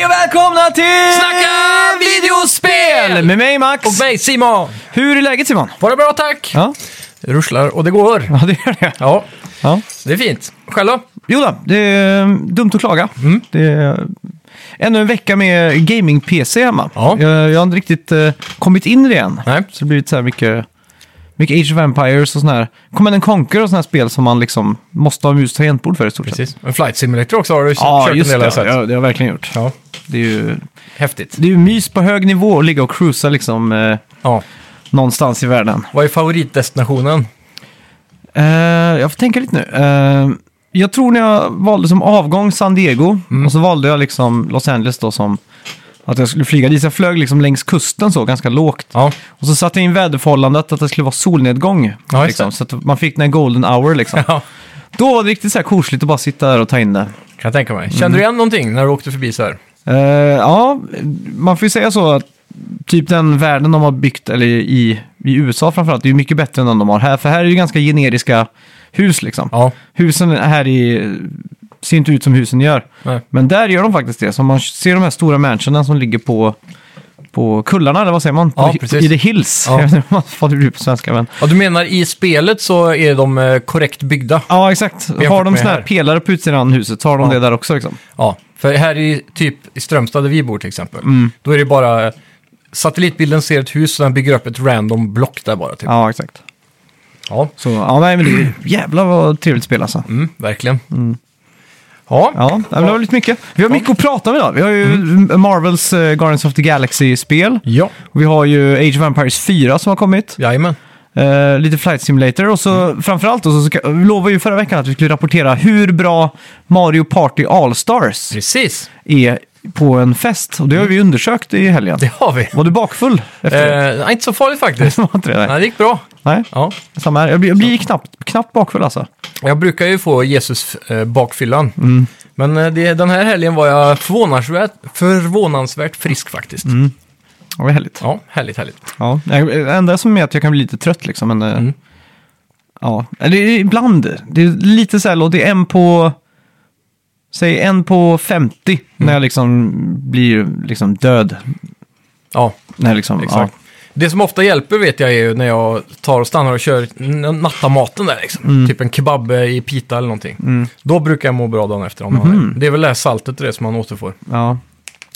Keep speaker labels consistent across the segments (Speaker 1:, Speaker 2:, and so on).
Speaker 1: välkomna till
Speaker 2: Snacka videospel!
Speaker 1: Med mig Max.
Speaker 2: Och mig Simon!
Speaker 1: Hur är läget Simon?
Speaker 2: Var det bra tack?
Speaker 1: Ja,
Speaker 2: Det ruschlar och det går.
Speaker 1: ja det gör det.
Speaker 2: Ja,
Speaker 1: Ja.
Speaker 2: det är fint. Själv då?
Speaker 1: Jo då, det är mm, dumt att klaga.
Speaker 2: Mm.
Speaker 1: Det är ännu en vecka med gaming-PC hemma.
Speaker 2: Ja.
Speaker 1: Jag, jag har inte riktigt eh, kommit in i det än.
Speaker 2: Nej.
Speaker 1: Så det har blivit så här mycket, mycket Age of Empires och sådana här. Command and Conquer och sådana här spel som man liksom måste ha mus och tangentbord för i stort sett.
Speaker 2: En flight simulator också har du
Speaker 1: Ja,
Speaker 2: kört
Speaker 1: just
Speaker 2: en del har
Speaker 1: det. Ja,
Speaker 2: jag
Speaker 1: det
Speaker 2: sett.
Speaker 1: har jag verkligen gjort.
Speaker 2: Ja,
Speaker 1: Det är ju
Speaker 2: häftigt.
Speaker 1: det är ju mys på hög nivå att ligga och cruisa liksom eh,
Speaker 2: Ja.
Speaker 1: någonstans i världen.
Speaker 2: Vad är favoritdestinationen?
Speaker 1: Eh, jag får tänka lite nu. Eh, jag tror när jag valde som avgång San Diego
Speaker 2: Mm.
Speaker 1: och så valde jag liksom Los Angeles då som att jag skulle flyga dit. Så jag flög liksom längs kusten så, ganska lågt.
Speaker 2: Ja,
Speaker 1: Och så satte jag in väderförhållandet att det skulle vara solnedgång.
Speaker 2: Ja, just
Speaker 1: liksom,
Speaker 2: det.
Speaker 1: så att man fick den här golden hour liksom.
Speaker 2: ja.
Speaker 1: Då var det riktigt så här kosligt att bara sitta där och ta in det.
Speaker 2: kan jag tänka mig.
Speaker 1: Mm.
Speaker 2: Kände du igen någonting när du åkte förbi så här?
Speaker 1: Eh, ja, man får ju säga så att typ den världen de har byggt, eller i, i USA framförallt, det är ju mycket bättre än den de har här. För här är det ju ganska generiska hus liksom.
Speaker 2: Ja,
Speaker 1: Husen här i ser inte ut som husen gör.
Speaker 2: Nej.
Speaker 1: Men där gör de faktiskt det. Så om man ser de här stora mansionen som ligger på, på kullarna, eller vad säger man?
Speaker 2: Ja,
Speaker 1: på,
Speaker 2: precis.
Speaker 1: I the hills.
Speaker 2: Ja.
Speaker 1: Jag vet inte vad det blir på svenska. Men...
Speaker 2: ja du menar i spelet så är de eh, korrekt byggda?
Speaker 1: Ja, exakt. Har de
Speaker 2: med
Speaker 1: såna här
Speaker 2: här.
Speaker 1: pelare på utsidan av huset så har de
Speaker 2: Ja.
Speaker 1: det där också. Liksom.
Speaker 2: Ja, för här i typ i Strömstad där vi bor till exempel,
Speaker 1: Mm.
Speaker 2: då är det bara eh, satellitbilden ser ett hus och den bygger upp ett random block där bara. Typ.
Speaker 1: Ja, exakt.
Speaker 2: ja.
Speaker 1: Så, ja, nej, men det är jävlar vad trevligt spel alltså.
Speaker 2: Mm, verkligen. Ja,
Speaker 1: Ja, nej, men det var lite mycket. Vi har mycket att prata om idag. Vi har ju
Speaker 2: Mm.
Speaker 1: Marvels eh, Guardians of the Galaxy-spel.
Speaker 2: ja.
Speaker 1: Vi har ju Age of Empires 4 som har kommit.
Speaker 2: jajamän.
Speaker 1: Eh, lite flight simulator och så framförallt då, så ska, vi lovade ju förra veckan att vi skulle rapportera hur bra Mario Party All-Stars
Speaker 2: Precis,
Speaker 1: är på en fest. Och det har vi undersökt i helgen.
Speaker 2: det har vi.
Speaker 1: Var du bakfull efter
Speaker 2: Eh, nej, inte så farligt faktiskt.
Speaker 1: det? Var inte det? Nej.
Speaker 2: Nej, det gick bra.
Speaker 1: Nej,
Speaker 2: Ja.
Speaker 1: samma här. Jag blir, jag blir knappt, knappt bakfull alltså.
Speaker 2: Jag brukar ju få Jesus-bakfyllan.
Speaker 1: Mm.
Speaker 2: Men eh, det, den här helgen var jag förvånansvärt, förvånansvärt frisk faktiskt.
Speaker 1: Mm. Det var härligt.
Speaker 2: Ja, härligt, härligt.
Speaker 1: Ja. Nej, Det enda som är att jag kan bli lite trött liksom. Men, eh, ja. Eller ibland. Det är lite så här, låt, det är en på... Säg en på 50 när jag liksom blir liksom död.
Speaker 2: Ja,
Speaker 1: När liksom,
Speaker 2: exakt.
Speaker 1: Ja.
Speaker 2: Det som ofta hjälper vet jag är ju när jag tar och stannar och kör n- nattamaten där liksom.
Speaker 1: Mm.
Speaker 2: Typ en kebab i pita eller någonting. Då brukar jag må bra dagen efter. Om
Speaker 1: Mhm.
Speaker 2: man, det är väl det här saltet och det som man återfår.
Speaker 1: Ja.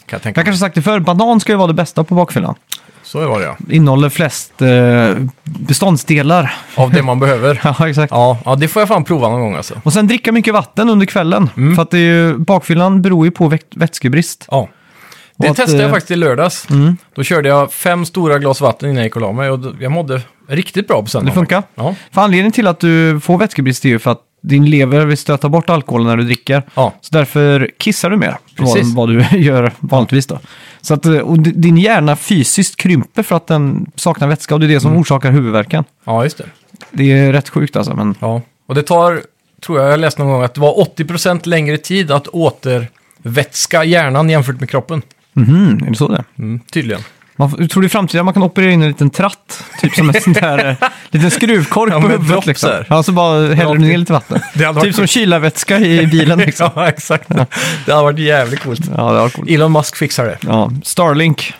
Speaker 2: Kan jag tänka
Speaker 1: Jag
Speaker 2: mig.
Speaker 1: kanske sagt det förr, banan ska ju vara det bästa på bakfyllan.
Speaker 2: Så var det ja.
Speaker 1: Innehåller flest eh, beståndsdelar.
Speaker 2: Av det man behöver.
Speaker 1: Ja, exakt.
Speaker 2: Ja, ja, det får jag fan prova någon gång alltså.
Speaker 1: Och sen dricka mycket vatten under kvällen.
Speaker 2: Mm.
Speaker 1: För att det är ju, bakfyllan beror ju på väx- vätskebrist.
Speaker 2: Ja. Det
Speaker 1: Och att,
Speaker 2: testade jag
Speaker 1: eh,
Speaker 2: faktiskt i lördags. Då körde jag fem stora glas vatten innan jag gick och la mig och då- jag mådde riktigt bra på
Speaker 1: Det
Speaker 2: söndagen.
Speaker 1: funkar.
Speaker 2: Ja,
Speaker 1: För anledningen till att du får vätskebrist är ju för att din lever vill stöta bort alkoholen när du dricker.
Speaker 2: ja.
Speaker 1: Så därför kissar du mer än vad,
Speaker 2: Precis.
Speaker 1: vad du gör vanligtvis. Då. Så att, eh, och di- din hjärna fysiskt krymper för att den saknar vätska och det är det som
Speaker 2: Mm.
Speaker 1: orsakar huvudvärken.
Speaker 2: ja just det.
Speaker 1: Det är rätt sjukt alltså, men
Speaker 2: Ja. Och det tar, tror jag jag läste någon gång, att det var 80% längre tid att återvätska hjärnan jämfört med kroppen.
Speaker 1: mhm, är det så det är?
Speaker 2: Mm, tydligen.
Speaker 1: Man, f- tror du i framtiden man kan operera in en liten tratt? Typ som en sån där eh, liten skruvkork
Speaker 2: Ja,
Speaker 1: på
Speaker 2: med
Speaker 1: huvudet
Speaker 2: dropp
Speaker 1: liksom.
Speaker 2: så här.
Speaker 1: Ja, så bara häller du
Speaker 2: Rakt
Speaker 1: ner
Speaker 2: in.
Speaker 1: lite vatten.
Speaker 2: Det hade
Speaker 1: Typ som kylarvätska i bilen liksom.
Speaker 2: Ja, exakt. Det hade varit jävligt coolt.
Speaker 1: Ja, det var coolt.
Speaker 2: Elon Musk fixar det.
Speaker 1: Ja, Starlink.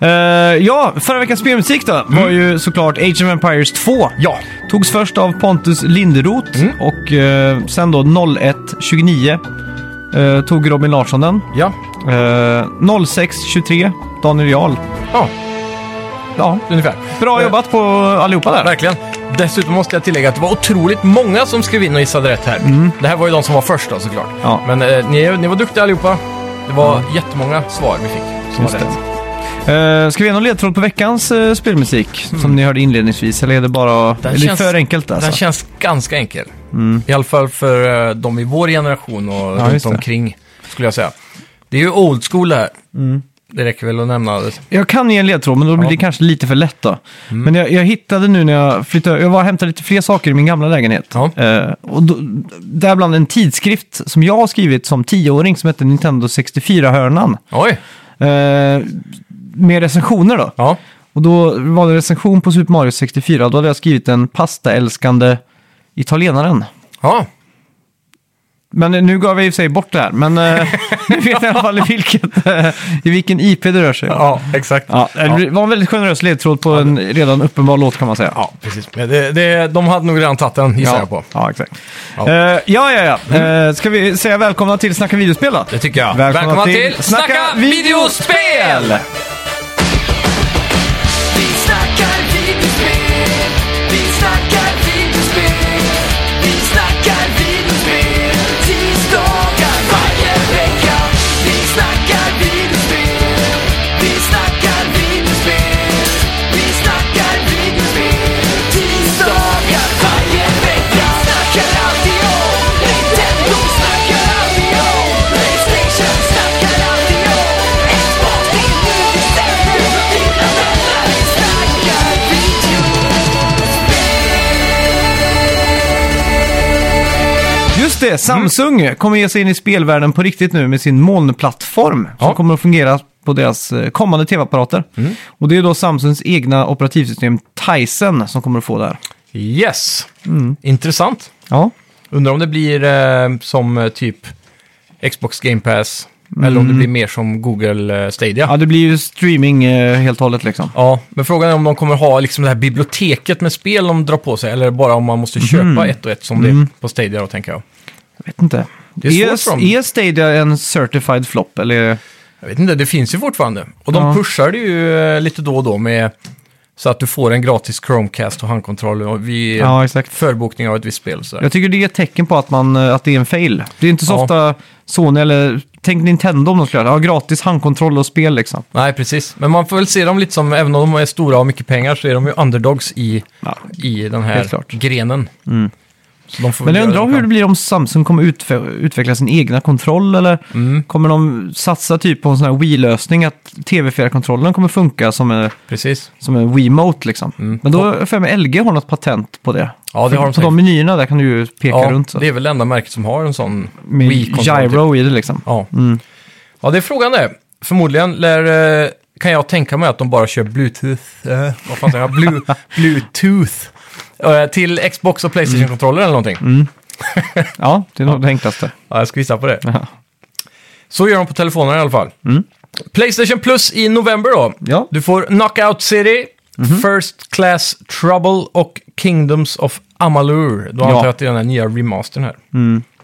Speaker 1: Eh, ja, förra veckans spelmusik då
Speaker 2: Mm.
Speaker 1: var ju såklart Age of Empires 2.
Speaker 2: Ja,
Speaker 1: Togs först av Pontus Linderoth
Speaker 2: Mm.
Speaker 1: och eh, sen då 01.29 eh, tog Robin Larsson den.
Speaker 2: ja,
Speaker 1: Eh, 06.23 Daniel Jarl.
Speaker 2: ja,
Speaker 1: Ja,
Speaker 2: ungefär.
Speaker 1: bra jobbat på allihopa där.
Speaker 2: Verkligen. Dessutom måste jag tillägga att det var otroligt många som skrev in och gissade rätt här.
Speaker 1: Mm.
Speaker 2: Det här var ju de som var först då såklart.
Speaker 1: Ja.
Speaker 2: Men eh, ni, ni var duktiga allihopa. Det var jättemånga svar vi fick som var
Speaker 1: Mm. Just det.
Speaker 2: rätt.
Speaker 1: Eh, ska vi ge någon ledtråd på veckans eh, spelmusik som ni hörde inledningsvis? Eller är det bara
Speaker 2: Mm. Den
Speaker 1: är det
Speaker 2: känns-
Speaker 1: för enkelt? Alltså? Mm.
Speaker 2: Den känns ganska enkel. I alla fall för eh, de i vår generation och runt
Speaker 1: just det.
Speaker 2: omkring skulle jag säga. Det är ju old school det här.
Speaker 1: Mm.
Speaker 2: Det räcker väl att nämna det.
Speaker 1: Jag kan ge en ledtråd, men då blir
Speaker 2: Ja. Mm.
Speaker 1: det kanske lite för lätt då. Men jag, jag hittade nu när jag flyttade, jag var och hämtade lite fler saker i min gamla lägenhet.
Speaker 2: Ja.
Speaker 1: Eh, och då, däribland en tidskrift som jag har skrivit som tioåring som heter Nintendo 64-hörnan.
Speaker 2: Oj!
Speaker 1: Eh, med recensioner då.
Speaker 2: Ja.
Speaker 1: Och då var det recension på Super Mario 64, då hade jag skrivit en pastaälskande italienaren.
Speaker 2: ja.
Speaker 1: Men eh, nu gav jag i och för sig bort det här, men eh, nu vet jag i alla fall i vilket, eh, i vilken IP det rör sig om.
Speaker 2: Ja, exakt.
Speaker 1: Ja, det var en väldigt generös ledtråd på en redan uppenbar låt kan man säga.
Speaker 2: Ja, precis. Men det, det, de hade nog redan tagit den, gissar
Speaker 1: ja.
Speaker 2: jag på.
Speaker 1: Ja, exakt.
Speaker 2: Ja. Mm.
Speaker 1: Ja, ja, ja. ja. Eh, ska vi säga välkomna till Snacka videospel då?
Speaker 2: Det tycker jag.
Speaker 1: Välkomna till
Speaker 2: Snacka
Speaker 1: Snacka
Speaker 2: videospel!
Speaker 3: Vi snackar videospel, vi snackar videospel, vi snackar videospel, tisdagar varje vecka. Vi snackar videospel, vi snackar videospel, vi snackar videospel, tisdagar varje vecka. Snackar alltid om Nintendo, snackar alltid om Playstation, snackar alltid om Xbox, det är nu vi sätter dina vänner. Vi snackar videospel.
Speaker 1: Just det, Samsung kommer ge sig in i spelvärlden på riktigt nu med sin molnplattform
Speaker 2: Ja. Mm.
Speaker 1: som kommer att fungera på deras eh, kommande tv-apparater. Och det är då Samsungs egna operativsystem Tizen som kommer att få det här.
Speaker 2: Yes!
Speaker 1: Mm.
Speaker 2: Intressant.
Speaker 1: Ja,
Speaker 2: Undrar om det blir eh, som eh, typ Xbox Game Pass, eller
Speaker 1: Mm.
Speaker 2: om det blir mer som Google eh, Stadia.
Speaker 1: ja
Speaker 2: Ja.
Speaker 1: det blir ju streaming eh, helt och hållet liksom.
Speaker 2: men frågan är om de kommer ha liksom det här biblioteket med spel de drar på sig, eller bara om man måste köpa
Speaker 1: Mm.
Speaker 2: ett och ett som det är på Stadia då, tänker jag.
Speaker 1: Jag vet inte. E
Speaker 2: Det är svårt för dem.
Speaker 1: är, är Stadia en certified flop eller?
Speaker 2: Jag vet inte, det finns ju fortfarande. Och de
Speaker 1: Ja.
Speaker 2: pushar det ju eh, lite då och då med så att du får en gratis Chromecast och handkontroll och vid
Speaker 1: Ja, exakt.
Speaker 2: förbokning av ett visst spel. och Så där.
Speaker 1: Jag tycker det är ett tecken på att, man, eh, att det är en fail. Det är inte så
Speaker 2: Ja.
Speaker 1: ofta Sony eller, tänk Nintendo om de skulle göra det. Ja, gratis handkontroll och spel liksom.
Speaker 2: Nej, precis. Men man får väl se dem lite som, även om de är stora och har mycket pengar, så är de ju underdogs i,
Speaker 1: Ja.
Speaker 2: i den
Speaker 1: Helt
Speaker 2: här
Speaker 1: klart. Mm.
Speaker 2: grenen. Så de får
Speaker 1: Men jag
Speaker 2: väl göra
Speaker 1: undrar
Speaker 2: de
Speaker 1: hur
Speaker 2: kan.
Speaker 1: det blir om Samsung kommer utfe- utveckla sin egna kontroll eller
Speaker 2: Mm.
Speaker 1: kommer de satsa typ på en sån här Wii-lösning att TV4-kontrollen kommer funka som en,
Speaker 2: Precis.
Speaker 1: som en Wiimote liksom. Men då har jag för mig LG har något patent på det.
Speaker 2: Mm. Ja, det har de
Speaker 1: På
Speaker 2: säkert.
Speaker 1: de menyerna där kan du ju peka
Speaker 2: Ja,
Speaker 1: runt så.
Speaker 2: det är väl det enda märket som har en sån
Speaker 1: med
Speaker 2: Wii-kontroll. typ.
Speaker 1: gyro i det liksom.
Speaker 2: Ja. ja, det är frågan det. Förmodligen lär, eh, kan jag tänka mig att de bara kör Bluetooth. Eh, vad fan säger jag? Blu, Bluetooth. Eh, till Xbox och Playstation-kontroller eller någonting.
Speaker 1: Mm. Ja, det är nog det enklaste.
Speaker 2: Ja, jag ska gissa på det.
Speaker 1: Ja.
Speaker 2: Så gör de på telefonerna i alla fall. Playstation Plus i november då.
Speaker 1: Mm. Ja. Mhm.
Speaker 2: Du får Knockout City, First Class Trouble och Kingdoms of Amalur.
Speaker 1: Ja. Mm.
Speaker 2: Då antar jag att det är den här nya remastern här.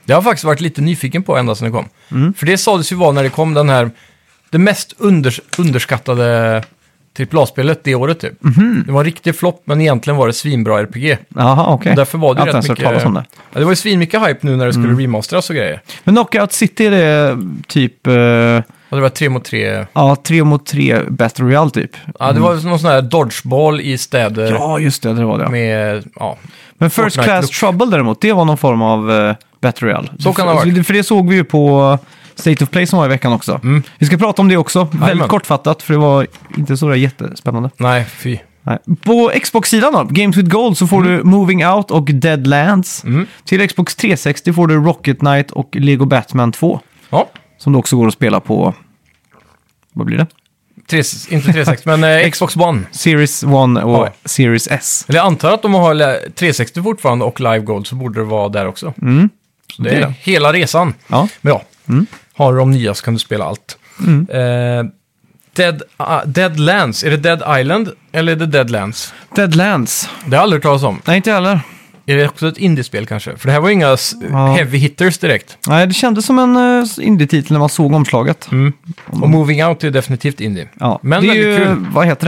Speaker 2: Det har jag faktiskt varit lite nyfiken på ända sedan det kom. För det sades ju vara när det kom den här, det mest unders underskattade AAA-spelet det året typ.
Speaker 1: Mhm.
Speaker 2: Det var en riktig flopp, men egentligen var det svinbra RPG.
Speaker 1: Jaha, okej.
Speaker 2: Och därför var det
Speaker 1: Jag
Speaker 2: ju
Speaker 1: har
Speaker 2: rätt
Speaker 1: inte ens
Speaker 2: mycket...
Speaker 1: hört talas om det. Mm.
Speaker 2: Ja, det var ju svinmycket hype nu när det skulle remasteras och grejer.
Speaker 1: Men Knockout City är det typ eh,
Speaker 2: Och det var tre mot tre.
Speaker 1: ja, tre mot tre Battle Royale typ.
Speaker 2: Ja, det var någon sån här dodgeball i städer
Speaker 1: Ja, just det, det var det. ja.
Speaker 2: med, ja.
Speaker 1: Men First
Speaker 2: Fortnite
Speaker 1: Class
Speaker 2: look.
Speaker 1: Trouble däremot, det var någon form av uh, Battle Royale.
Speaker 2: Så kan det ha varit. Mm.
Speaker 1: För det såg vi ju på State of Play som var i veckan också. Vi ska prata om det också, väldigt kortfattat, för det var inte så där jättespännande.
Speaker 2: Nej, fy.
Speaker 1: Nej. På Xbox-sidan då, Games with Gold, så får
Speaker 2: Mm.
Speaker 1: du Moving Out och Deadlands. Till Xbox 360 får du Rocket Knight och Lego Batman 2,
Speaker 2: Ja,
Speaker 1: som du också går att spela på... Vad blir det?
Speaker 2: tre, inte 360, men eh, Xbox One.
Speaker 1: Series 1 och
Speaker 2: Ja.
Speaker 1: Series S.
Speaker 2: Eller jag antar att de har le- 360 fortfarande och Live Gold så borde det vara där också. Så det
Speaker 1: Mm, Det är
Speaker 2: är
Speaker 1: det. Mm.
Speaker 2: hela resan.
Speaker 1: Ja.
Speaker 2: Men ja, har du de nya så kan du spela allt.
Speaker 1: Mm.
Speaker 2: Eh, Dead, ah, Deadlands, är det Dead Island eller är det Deadlands?
Speaker 1: Deadlands.
Speaker 2: Det har jag aldrig hört talas om.
Speaker 1: Nej, inte heller.
Speaker 2: Är det också ett indiespel kanske? För det här var ju inga s-
Speaker 1: Ja.
Speaker 2: heavy hitters direkt.
Speaker 1: Nej, det kändes som en uh, indie-titel när man såg omslaget.
Speaker 2: Och Moving Out är definitivt indie.
Speaker 1: Mm. Ja,
Speaker 2: Mm. Men
Speaker 1: det är ju,
Speaker 2: väldigt kul.
Speaker 1: vad heter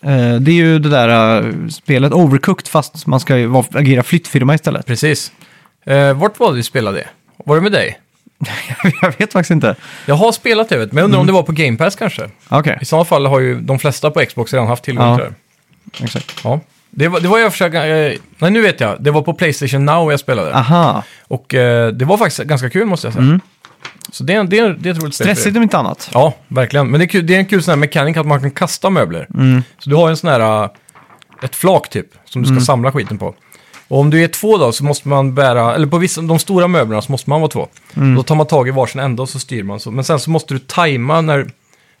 Speaker 1: det? Eh, det är ju det där eh, spelet Overcooked fast man ska ju vara- agera flyttfirma istället.
Speaker 2: Precis. Eh, vart var det vi spelade det? Var det med dig?
Speaker 1: jag vet faktiskt inte. Ah,
Speaker 2: Jag har spelat det, vet, men jag undrar om
Speaker 1: Mm.
Speaker 2: det var på Game Pass kanske.
Speaker 1: Okej,
Speaker 2: I sådana fall har ju de flesta på Xbox redan haft tillgång
Speaker 1: Ja.
Speaker 2: till det.
Speaker 1: exakt.
Speaker 2: Ja. Det var, det var jag försökte... Eh, nej, nu vet jag. Det var på Playstation Now jag spelade.
Speaker 1: Aha,
Speaker 2: Och eh, det var faktiskt ganska kul måste jag säga. Så det är, det, är, det är ett roligt spel. för
Speaker 1: Mm. stressigt
Speaker 2: det.
Speaker 1: om inte annat.
Speaker 2: Ja, verkligen. Men det är, kul, det är en kul sån här mekanik att man kan kasta möbler.
Speaker 1: Mm.
Speaker 2: Så du har en sån här... eh, Ett flak typ, som du ska samla skiten på. Och om du är två då så måste man bära, eller på vissa, de stora
Speaker 1: Mm.
Speaker 2: möblerna så måste man vara två. Då tar man tag i varsin ända och så styr man så. Men sen så måste du tajma när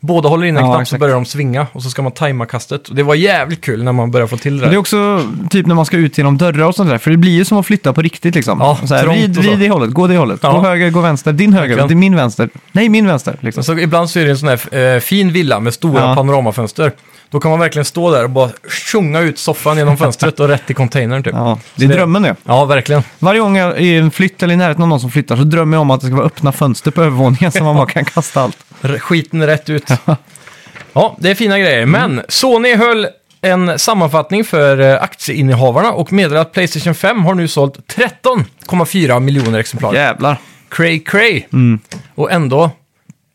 Speaker 2: båda håller in en
Speaker 1: Ja,
Speaker 2: knapp så
Speaker 1: exakt.
Speaker 2: börjar de svinga och så ska man tajma kastet. Och det var jävligt kul när man började få till det
Speaker 1: Men
Speaker 2: där.
Speaker 1: det är också typ när man ska ut genom dörrar och sånt där, för det blir ju som att flytta på riktigt liksom.
Speaker 2: Ja,
Speaker 1: så här,
Speaker 2: trångt
Speaker 1: vrid,
Speaker 2: och så.
Speaker 1: vrid det hållet, gå det hållet,
Speaker 2: Ja.
Speaker 1: gå höger, gå vänster, din höger,
Speaker 2: Verkligen. Alltså,
Speaker 1: det är min vänster, nej min vänster. Liksom.
Speaker 2: Och Så ibland så är det en sån här eh, fin villa med stora
Speaker 1: Ja.
Speaker 2: panoramafönster. Då kan man verkligen stå där och bara tjonga ut soffan genom fönstret och rätt i containern typ. Ja,
Speaker 1: Ja, det är
Speaker 2: Så det-
Speaker 1: drömmen det.
Speaker 2: verkligen.
Speaker 1: Varje gång jag är i en flytt eller i närheten av någon som flyttar så drömmer jag om att det ska vara öppna fönster på övervåningen så man bara kan kasta allt.
Speaker 2: R- skiten rätt ut. ja, det är fina grejer. Men Sony höll en sammanfattning för eh, aktieinnehavarna och meddelade att Playstation 5 har nu sålt 13,4 miljoner exemplar.
Speaker 1: Jävlar.
Speaker 2: Cray cray. Och ändå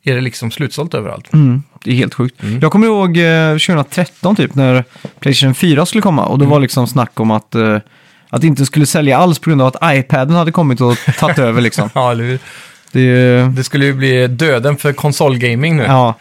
Speaker 2: är det liksom slutsålt överallt.
Speaker 1: Mm, det är helt sjukt. Jag kommer ihåg eh, 2013 typ när Playstation 4 skulle komma och det var liksom snack om att, eh, att det inte skulle sälja alls på grund av att iPaden hade kommit och tagit över liksom.
Speaker 2: Ja, eller hur?
Speaker 1: Det, är-
Speaker 2: Det skulle ju bli döden för konsolgaming nu.
Speaker 1: ja.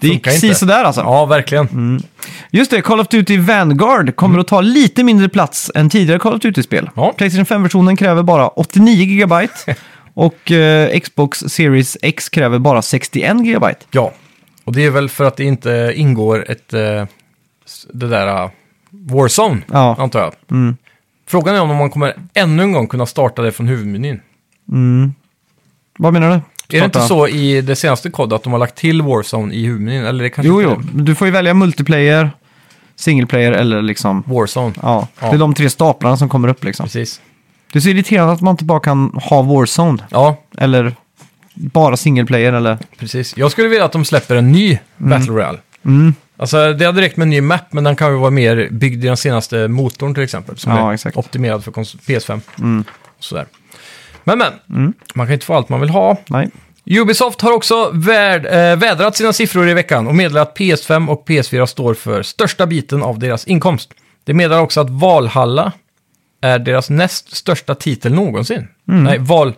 Speaker 1: det gick
Speaker 2: Funkar inte.
Speaker 1: precis sådär alltså.
Speaker 2: Ja, verkligen.
Speaker 1: Just det, Call of Duty Vanguard kommer att ta lite mindre plats än tidigare Call of Duty-spel.
Speaker 2: Mm. Ja.
Speaker 1: Playstation 5-versionen kräver bara 89 GB och eh, Xbox Series X kräver bara 61 GB.
Speaker 2: Ja, och det är väl för att det inte ingår ett, eh, s- det där eh, Warzone,
Speaker 1: Ja. Mm.
Speaker 2: antar jag. Frågan är om man kommer ännu en gång kunna starta det från huvudmenyn.
Speaker 1: Vad menar du?
Speaker 2: Är det inte
Speaker 1: Starta-
Speaker 2: så i det senaste kod att de har lagt till Warzone i huvudmenyn? Eller det kanske
Speaker 1: Jo,
Speaker 2: inte
Speaker 1: jo. Du får ju välja multiplayer, single player eller liksom...
Speaker 2: är Warzone.
Speaker 1: Ja,
Speaker 2: Ja.
Speaker 1: det är de tre staplarna som kommer upp liksom.
Speaker 2: Precis.
Speaker 1: Det är så irriterande att man inte bara kan ha Warzone.
Speaker 2: Ja,
Speaker 1: Eller bara single player eller...
Speaker 2: precis. Jag skulle vilja att de släpper en ny
Speaker 1: Mm.
Speaker 2: Battle Royale. Alltså, det hade räckt med en ny map, men den kan ju vara mer byggd i den senaste motorn till exempel. Som
Speaker 1: Ja,
Speaker 2: är
Speaker 1: exakt. Mm.
Speaker 2: optimerad för kons- PS5. Och sådär. Men, men. Man kan ju inte få allt man vill ha.
Speaker 1: Nej.
Speaker 2: Ubisoft har också värd, eh, vädrat sina siffror i veckan och meddelat att PS5 och PS4 står för största biten av deras inkomst. Det meddelar också att Valhalla är deras näst största titel någonsin.
Speaker 1: Mm.
Speaker 2: Nej, Val...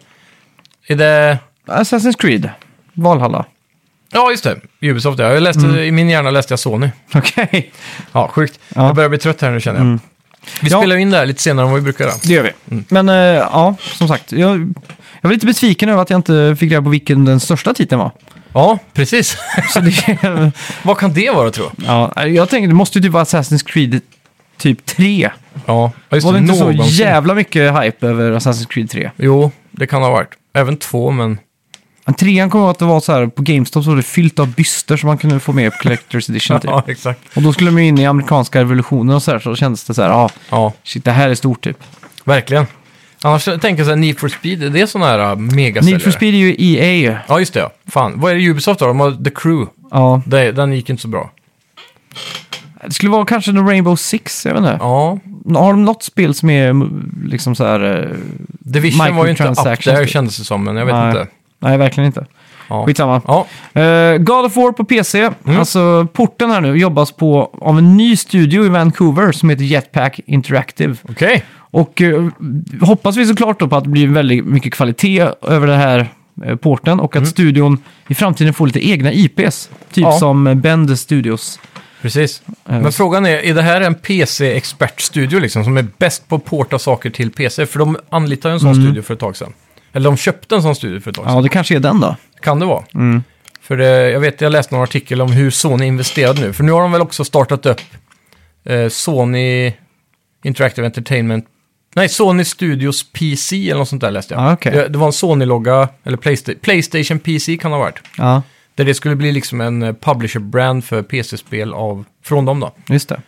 Speaker 2: Är det...
Speaker 1: Assassin's Creed. Valhalla.
Speaker 2: Ja, just det. Ubisoft, ja. Jag läste,
Speaker 1: Mm.
Speaker 2: I min hjärna läste jag Sony.
Speaker 1: Okej.
Speaker 2: Ja, sjukt.
Speaker 1: Ja. Mm.
Speaker 2: Jag börjar bli trött här nu känner jag. Vi
Speaker 1: Ja.
Speaker 2: spelar in det här lite senare än vad vi brukar göra.
Speaker 1: Det gör vi. Men eh, ja, som sagt. Jag, jag var lite besviken över att jag inte fick reda på vilken den största titeln var.
Speaker 2: Ja, precis.
Speaker 1: Så det,
Speaker 2: vad kan det vara, tror jag?
Speaker 1: ja, jag tänkte, det måste ju typ vara Assassin's Creed typ 3.
Speaker 2: Ja, just
Speaker 1: Var det inte så
Speaker 2: någonsin.
Speaker 1: jävla mycket hype över Assassin's Creed 3?
Speaker 2: Jo, det kan ha varit. Även två, men...
Speaker 1: Men trean kommer jag ihåg att det var så här, på GameStop så var det fyllt av byster som man kunde få med på Collector's Edition typ.
Speaker 2: Ja, exakt.
Speaker 1: Och då skulle de ju in i amerikanska revolutionen och så här, så kändes det så här, ja, ah,
Speaker 2: Ja,
Speaker 1: shit, det här är stort typ.
Speaker 2: verkligen. Annars tänker jag så här, Need for Speed, det är sådana här äh, megasäljare.
Speaker 1: Need for Speed är ju E EA.
Speaker 2: Ja, just det. Ja. Fan, vad är det Ubisoft då? De har The Crew.
Speaker 1: Ja,
Speaker 2: Det, den gick inte så bra.
Speaker 1: det skulle vara kanske The Rainbow Six, jag vet inte.
Speaker 2: Ja,
Speaker 1: Har de något spel som är mm, liksom så här... eh,
Speaker 2: Division var ju inte up
Speaker 1: Microtransactions,
Speaker 2: där
Speaker 1: typ.
Speaker 2: kändes det som, men jag vet
Speaker 1: nej.
Speaker 2: inte.
Speaker 1: Nej, verkligen inte.
Speaker 2: Ja.
Speaker 1: Skitsamma.
Speaker 2: Ja, Mm.
Speaker 1: Eh, God of War på PC, alltså porten här nu, jobbas på av en ny studio i Vancouver som heter Jetpack Interactive.
Speaker 2: okej.
Speaker 1: Och eh, hoppas vi såklart då på att det blir väldigt mycket kvalitet över den här eh, porten och att studion i framtiden får lite egna IPs. Typ
Speaker 2: Mm. Ja.
Speaker 1: som eh, Bend Studios.
Speaker 2: Precis.
Speaker 1: Eh.
Speaker 2: Men frågan är, är det här en PC-expertstudio liksom, som är bäst på att porta saker till PC? För de anlitar ju en sån
Speaker 1: Mm.
Speaker 2: studio för ett tag sedan. Eller de köpte en sån studio för ett tag
Speaker 1: Ja,
Speaker 2: sedan.
Speaker 1: Mm. det kanske är den då.
Speaker 2: Kan det vara. För eh, jag vet, jag läste någon artikel om hur Sony investerade nu. För nu har de väl också startat upp eh, Sony Interactive Entertainment. Nej, Sony Studios PC eller något sånt där läste jag.
Speaker 1: Ah, okej.
Speaker 2: det, det var en Sony-logga, eller Playsta- Playstation PC kan det ha varit.
Speaker 1: Ja,
Speaker 2: Där det skulle bli liksom en eh, publisher-brand för PC-spel av, från dem då.
Speaker 1: just det.